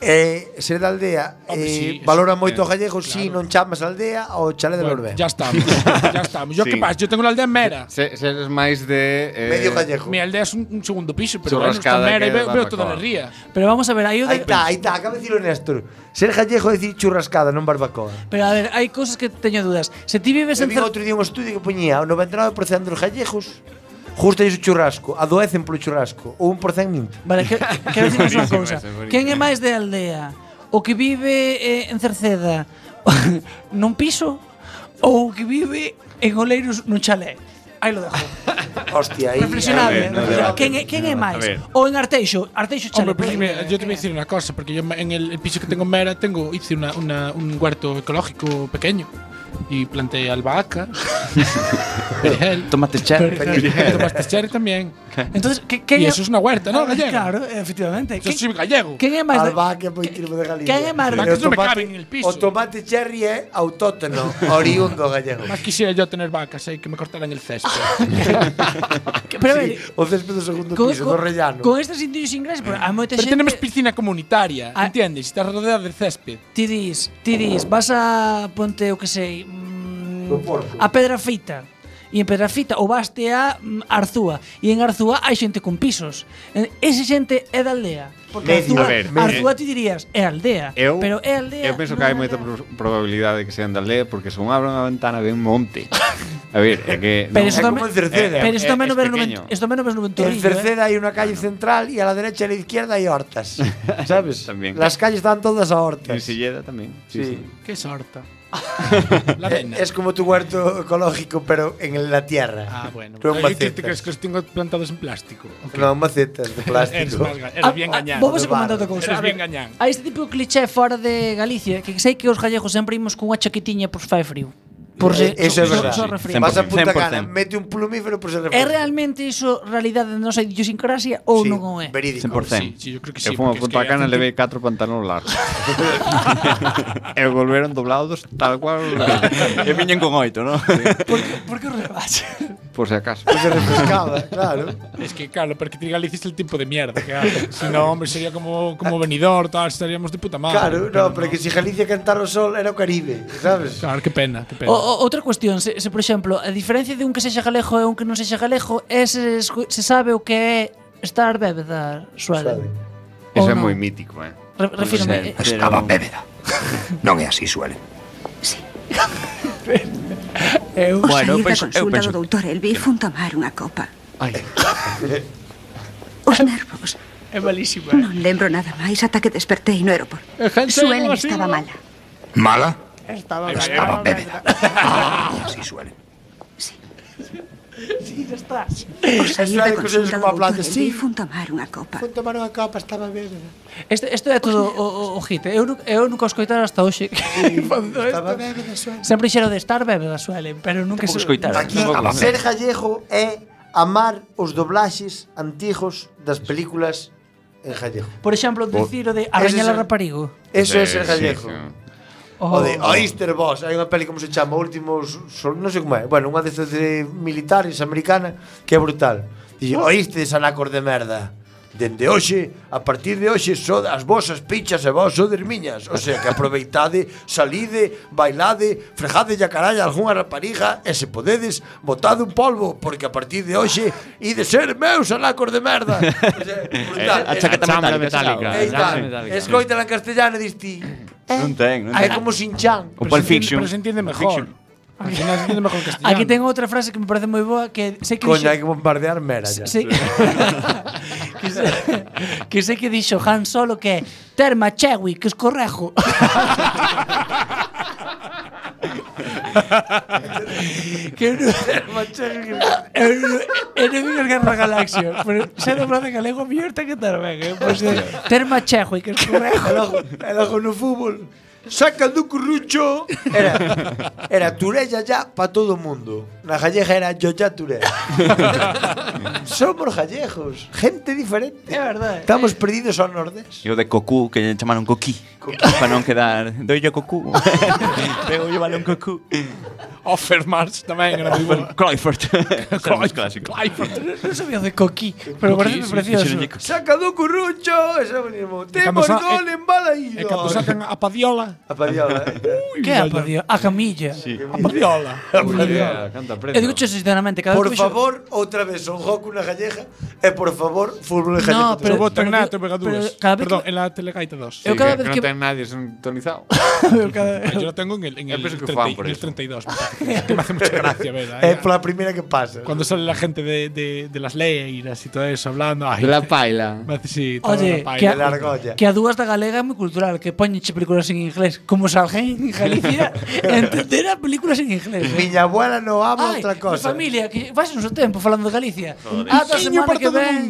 Speaker 6: Eh, ser da aldea
Speaker 4: Home,
Speaker 6: eh,
Speaker 4: sí, eso
Speaker 6: valora
Speaker 4: é,
Speaker 6: moito o gallego si non chamas aldea ou chale de
Speaker 4: Bueno,
Speaker 6: Lorbé.
Speaker 4: ya estamos. ya estamos. Yo
Speaker 8: Sí.
Speaker 4: qué pasa, yo tengo la aldea en Mera.
Speaker 8: Se, se eres máis de... Eh,
Speaker 6: Medio gallego.
Speaker 4: Mi aldea es un, un segundo piso, pero bueno, está
Speaker 8: Churrascada
Speaker 4: en Mera y
Speaker 8: que
Speaker 4: veo, veo toda la
Speaker 8: barbacoa.
Speaker 4: ría.
Speaker 3: Pero vamos a ver, hai o
Speaker 6: Aí
Speaker 3: de,
Speaker 6: está, aí está, acaba de dicirlo Néstor. Ser gallego é dicir churrascada, non barbacoa.
Speaker 3: Pero a ver, hai cousas que teño dúdas. Se ti
Speaker 6: Eu
Speaker 3: vives en
Speaker 6: vi
Speaker 3: cer...
Speaker 6: outro día un estudio que poñía o e 99% dos gallegos justo o churrasco, adoecen polo churrasco, ou un porcento minte.
Speaker 3: Vale, que, quero dicirnos unha
Speaker 8: Buenísimo
Speaker 3: cousa.
Speaker 8: ese, buenísimo.
Speaker 3: Quen é máis de aldea? O que vive eh, en Cerceda nun piso ou o que vive en Oleiros nun chalé? Aí lo dejo.
Speaker 6: Hostia, aí.
Speaker 8: A ver,
Speaker 3: Reflexionable.
Speaker 8: no
Speaker 3: reflexionable.
Speaker 8: debate.
Speaker 3: Quen é, quen é máis? Ou en Arteixo? Arteixo chalé.
Speaker 4: Hombre, pues
Speaker 3: eh,
Speaker 4: mira, yo te voy a decir una cosa, porque yo en el, el piso que tengo en Mera tengo, hice una, una- un huerto ecológico pequeño y planté albahaca, perejil,
Speaker 5: Tomate cherry.
Speaker 4: perejil, tomates cherry también.
Speaker 3: Entonces, que quen
Speaker 4: Y
Speaker 3: é-
Speaker 4: eso es una huerta, ¿no? Gallego.
Speaker 3: Ah, Claro, efectivamente.
Speaker 4: Yo
Speaker 3: Quen-
Speaker 4: soy gallego.
Speaker 3: Quen é máis? da-
Speaker 6: Albahaca moi tribo pues, de Galicia.
Speaker 3: Quen é máis?
Speaker 4: Albahaca
Speaker 6: Pero
Speaker 4: no me
Speaker 6: tomate-
Speaker 4: cabe en el piso.
Speaker 6: O tomate cherry é autóctono, oriundo gallego.
Speaker 4: Más quisiera yo tener vacas ahí que me cortaran el césped.
Speaker 3: Ah, Pero a ver,
Speaker 6: O céspede do segundo
Speaker 3: co-
Speaker 6: piso, do
Speaker 3: co-
Speaker 6: rellano.
Speaker 3: con estes indios ingleses, pero a moita
Speaker 4: Pero tenemos
Speaker 3: xente
Speaker 4: piscina comunitaria,
Speaker 3: Ah.
Speaker 4: ¿entiendes? Estás rodeada de césped.
Speaker 3: ti dis, ti dis, vas a ponte o que sei, mm,
Speaker 6: Do Porto.
Speaker 3: a Pedrafita. E en Pedrafita ou vaste a mm, Arzúa, e en Arzúa hai xente con pisos. En- Ese xente é da aldea. Porque
Speaker 6: Medio.
Speaker 3: Arzúa,
Speaker 8: A ver,
Speaker 3: Arzúa ti dirías, é aldea,
Speaker 8: Eu,
Speaker 3: pero é aldea.
Speaker 8: eu penso
Speaker 3: non
Speaker 8: que hai
Speaker 3: é
Speaker 8: moita pro-
Speaker 3: aldea.
Speaker 8: probabilidade de que sean da aldea porque son abran a ventana ven un monte. A ver, é que non-
Speaker 3: Pero
Speaker 6: É
Speaker 3: eso tamén- eh,
Speaker 6: como en Cerceda.
Speaker 3: Pero isto
Speaker 8: É-
Speaker 3: tamén
Speaker 8: es
Speaker 3: o ver no
Speaker 8: pequeño.
Speaker 3: vent- isto tamén o ver no venturillo.
Speaker 6: En
Speaker 3: eh.
Speaker 6: Cerceda hai unha calle central e a la derecha e a la izquierda hai hortas. ¿Sabes?
Speaker 8: También.
Speaker 6: Las calles están todas a hortas.
Speaker 8: en Silleda tamén. Sí, sí.
Speaker 6: Sí.
Speaker 4: Qué sorta. La
Speaker 6: Eh,
Speaker 4: arena.
Speaker 6: Es como tu huerto ecológico, pero en la tierra.
Speaker 4: Ah, bueno.
Speaker 6: Pero en
Speaker 4: ¿Y qué te
Speaker 6: macetas.
Speaker 4: crees que los tengo plantados en plástico?
Speaker 6: No, macetas de
Speaker 4: Eres,
Speaker 6: plástico.
Speaker 4: más ga- eres bien gañán.
Speaker 3: Ah, Vamos
Speaker 6: de
Speaker 3: a comentar
Speaker 6: barro.
Speaker 3: outra cousa.
Speaker 4: Eres bien gañán.
Speaker 3: Hai este tipo de cliché fora de Galicia que sei que os gallegos sempre imos cunha chaquetiña por se fai frío. Por se,
Speaker 6: Eh, Eso
Speaker 3: so-
Speaker 6: es
Speaker 3: so-
Speaker 6: verdad.
Speaker 3: so
Speaker 5: sí,
Speaker 3: refrío.
Speaker 5: cien por
Speaker 6: Vas a
Speaker 5: 100%.
Speaker 6: Punta Cana, mete un plumífero pues por ser
Speaker 3: É realmente E. iso realidade da nosa idiosincrasia ou non o é?
Speaker 6: Verídico.
Speaker 5: 100%.
Speaker 4: Sí, sí, yo creo que
Speaker 8: Eu
Speaker 4: sí.
Speaker 8: fomos a
Speaker 4: porque es
Speaker 8: Punta
Speaker 4: que
Speaker 8: Cana
Speaker 4: hacen
Speaker 8: levei catro pantalóns largos. e volveron doblados tal cual
Speaker 5: E viñen con oito, non?
Speaker 3: Por que, por que o rebache?
Speaker 8: por si acaso.
Speaker 6: Se refrescaba, claro.
Speaker 4: Es que, claro, porque te Galicia es el tipo de mierda que hace. Si no, hombre, sería como,
Speaker 8: Ah.
Speaker 4: como venidor, tal, estaríamos de puta madre.
Speaker 6: Claro, no, pero que si Galicia cantara o sol era o Caribe, sabes?
Speaker 4: Claro, qué pena, qué pena.
Speaker 8: Oh,
Speaker 3: O, o, outra cuestión, se, se por exemplo, a diferencia de un que sexa galego e un que non sexa galego é se, escu- se sabe o que é estar bébeda suave.
Speaker 6: Suave.
Speaker 8: Eso é
Speaker 3: Ou non?
Speaker 8: moi mítico, eh.
Speaker 3: Re, refírome. eh,
Speaker 5: Estaba
Speaker 12: bébeda. Non é así, suele.
Speaker 3: Eu,
Speaker 16: Ao saír da
Speaker 5: Bueno, eu penso- eu
Speaker 16: consulta
Speaker 5: penso-
Speaker 16: do doutor Elvi fun tomar unha copa.
Speaker 5: Ai.
Speaker 16: Os nervos.
Speaker 3: é malísima.
Speaker 16: Non lembro nada máis ata que despertei no aeroporto. Suelen estaba mala.
Speaker 12: Mala?
Speaker 3: Estaba
Speaker 12: Estaba bébeda. Ah, así suele.
Speaker 16: Ao saír da
Speaker 6: Suele que
Speaker 16: consulta
Speaker 6: seas
Speaker 16: do
Speaker 6: como a plan
Speaker 16: doutor
Speaker 6: de
Speaker 16: Elvi
Speaker 6: sí.
Speaker 16: fun tomar unha copa.
Speaker 6: tomar unha capa, estaba bébeda.
Speaker 3: Isto, isto é todo o, o, o hit. eh. Eu, nu- eu nunca o escoitara hasta hoxe. Facendo isto.
Speaker 6: Estaba bébeda, suave.
Speaker 3: Sempre xero de estar bebe da suelen, pero nunca
Speaker 5: Tampouco escoitara.
Speaker 6: Aquí,
Speaker 5: Tampouco.
Speaker 6: ser gallego é amar os doblaxes antigos das películas en gallego.
Speaker 3: Por exemplo, dicir o de arañar
Speaker 6: Ese
Speaker 3: a
Speaker 6: es-
Speaker 3: raparigo.
Speaker 6: Eso é ser
Speaker 8: Sí,
Speaker 6: gallego.
Speaker 8: sí.
Speaker 3: O,
Speaker 6: O de Oyster Boss, hai unha peli como se chama Últimos, sol, non sei como é. Bueno, unha destas de militares americana que é brutal. Dille, oístes anacos de merda. Dende hoxe, a partir de hoxe, so as vosas pichas e vos sodes miñas. O sea, que aproveitade, salide, bailade, frejade a caralla algunha rapariga e se podedes, botade un polvo, porque a partir de hoxe ide ser meus alacos de merda. O sea, brutal.
Speaker 1: a chaqueta A chambra metálica, metálica, a
Speaker 6: É
Speaker 1: chambra
Speaker 6: tal.
Speaker 1: metálica.
Speaker 6: Escoita na castellana e diste...
Speaker 8: Non ten, non
Speaker 6: Ah, é
Speaker 8: ten.
Speaker 6: como sin chan.
Speaker 8: O Pulp Fiction.
Speaker 3: Aquí,
Speaker 6: final se entiende mejor castellano.
Speaker 3: Aquí tengo otra frase que me parece muy boa que sé que
Speaker 6: Coño,
Speaker 3: dixo-
Speaker 6: hai que bombardear mera ya.
Speaker 3: Sí. que, sé, que sé que dixo Han Solo que Terma Chewi, que os correjo. que no, eu, non- eu non vin as Guerra Galaxia, pero xa dobrado en galego a mellor ten que estar ben, eh? Pois, eh, Terma Chewi, que os correjo.
Speaker 6: El ojo no fútbol. Saca do currucho. Era, era Turé Yayá para todo o mundo. Na gallega era Yoyá Turé. Somos gallegos. Gente diferente.
Speaker 3: É verdade.
Speaker 6: Estamos perdidos ao nordés.
Speaker 5: Yo de Cocu, que llamaron Coqui. Para no quedar. Doy yo Cocu. Pego yo balón Cocu.
Speaker 4: Offer Mars tamén era moi bueno.
Speaker 5: Clyford. Clyford. clásico.
Speaker 3: Non sabía de coquí, pero parece precioso.
Speaker 6: Saca do currucho. Eso mismo. Temos
Speaker 3: cando sa-
Speaker 6: gol en bala
Speaker 3: e cando sacan
Speaker 6: a Padiola. A Padiola.
Speaker 3: Que é a padiola? A camilla.
Speaker 6: A Padiola.
Speaker 3: A padiola. Eu digo sinceramente, cada vez
Speaker 6: Por
Speaker 3: que vexo-
Speaker 6: favor, outra vez, son Goku na gallega e por favor, fútbol de
Speaker 3: No,
Speaker 6: gallego.
Speaker 3: pero-
Speaker 4: Vou ten
Speaker 3: pero-
Speaker 4: nato, pega dúas.
Speaker 3: pero cada vez Eh,
Speaker 4: Perdón, en la Telegaita 2.
Speaker 3: Eu cada vez que-
Speaker 8: nadie sintonizado.
Speaker 4: Yo lo tengo en el, en
Speaker 8: Eu
Speaker 4: el,
Speaker 8: penso que
Speaker 4: 30
Speaker 8: fan por
Speaker 4: en el
Speaker 8: eso.
Speaker 4: 32. que me hace mucha gracia, ¿verdad?
Speaker 6: Es la primera que pasa.
Speaker 4: Cuando sale la gente de, de, de las leiras y todo eso hablando. Ay, este
Speaker 3: De la
Speaker 4: paila. Sí, toda
Speaker 3: Oye,
Speaker 4: la paila.
Speaker 3: que a, que a dúas da galega é moi cultural, que poñenche películas en inglés. Como se alguén en Galicia entendera películas en inglés. Eh?
Speaker 6: Miña abuela non ama
Speaker 3: Ai,
Speaker 6: outra
Speaker 3: mi
Speaker 6: cosa.
Speaker 3: familia, que vais un seu tempo falando de Galicia.
Speaker 6: Joder.
Speaker 3: Ata a
Speaker 6: Niño
Speaker 3: semana
Speaker 6: para
Speaker 3: que
Speaker 6: todo
Speaker 3: ven.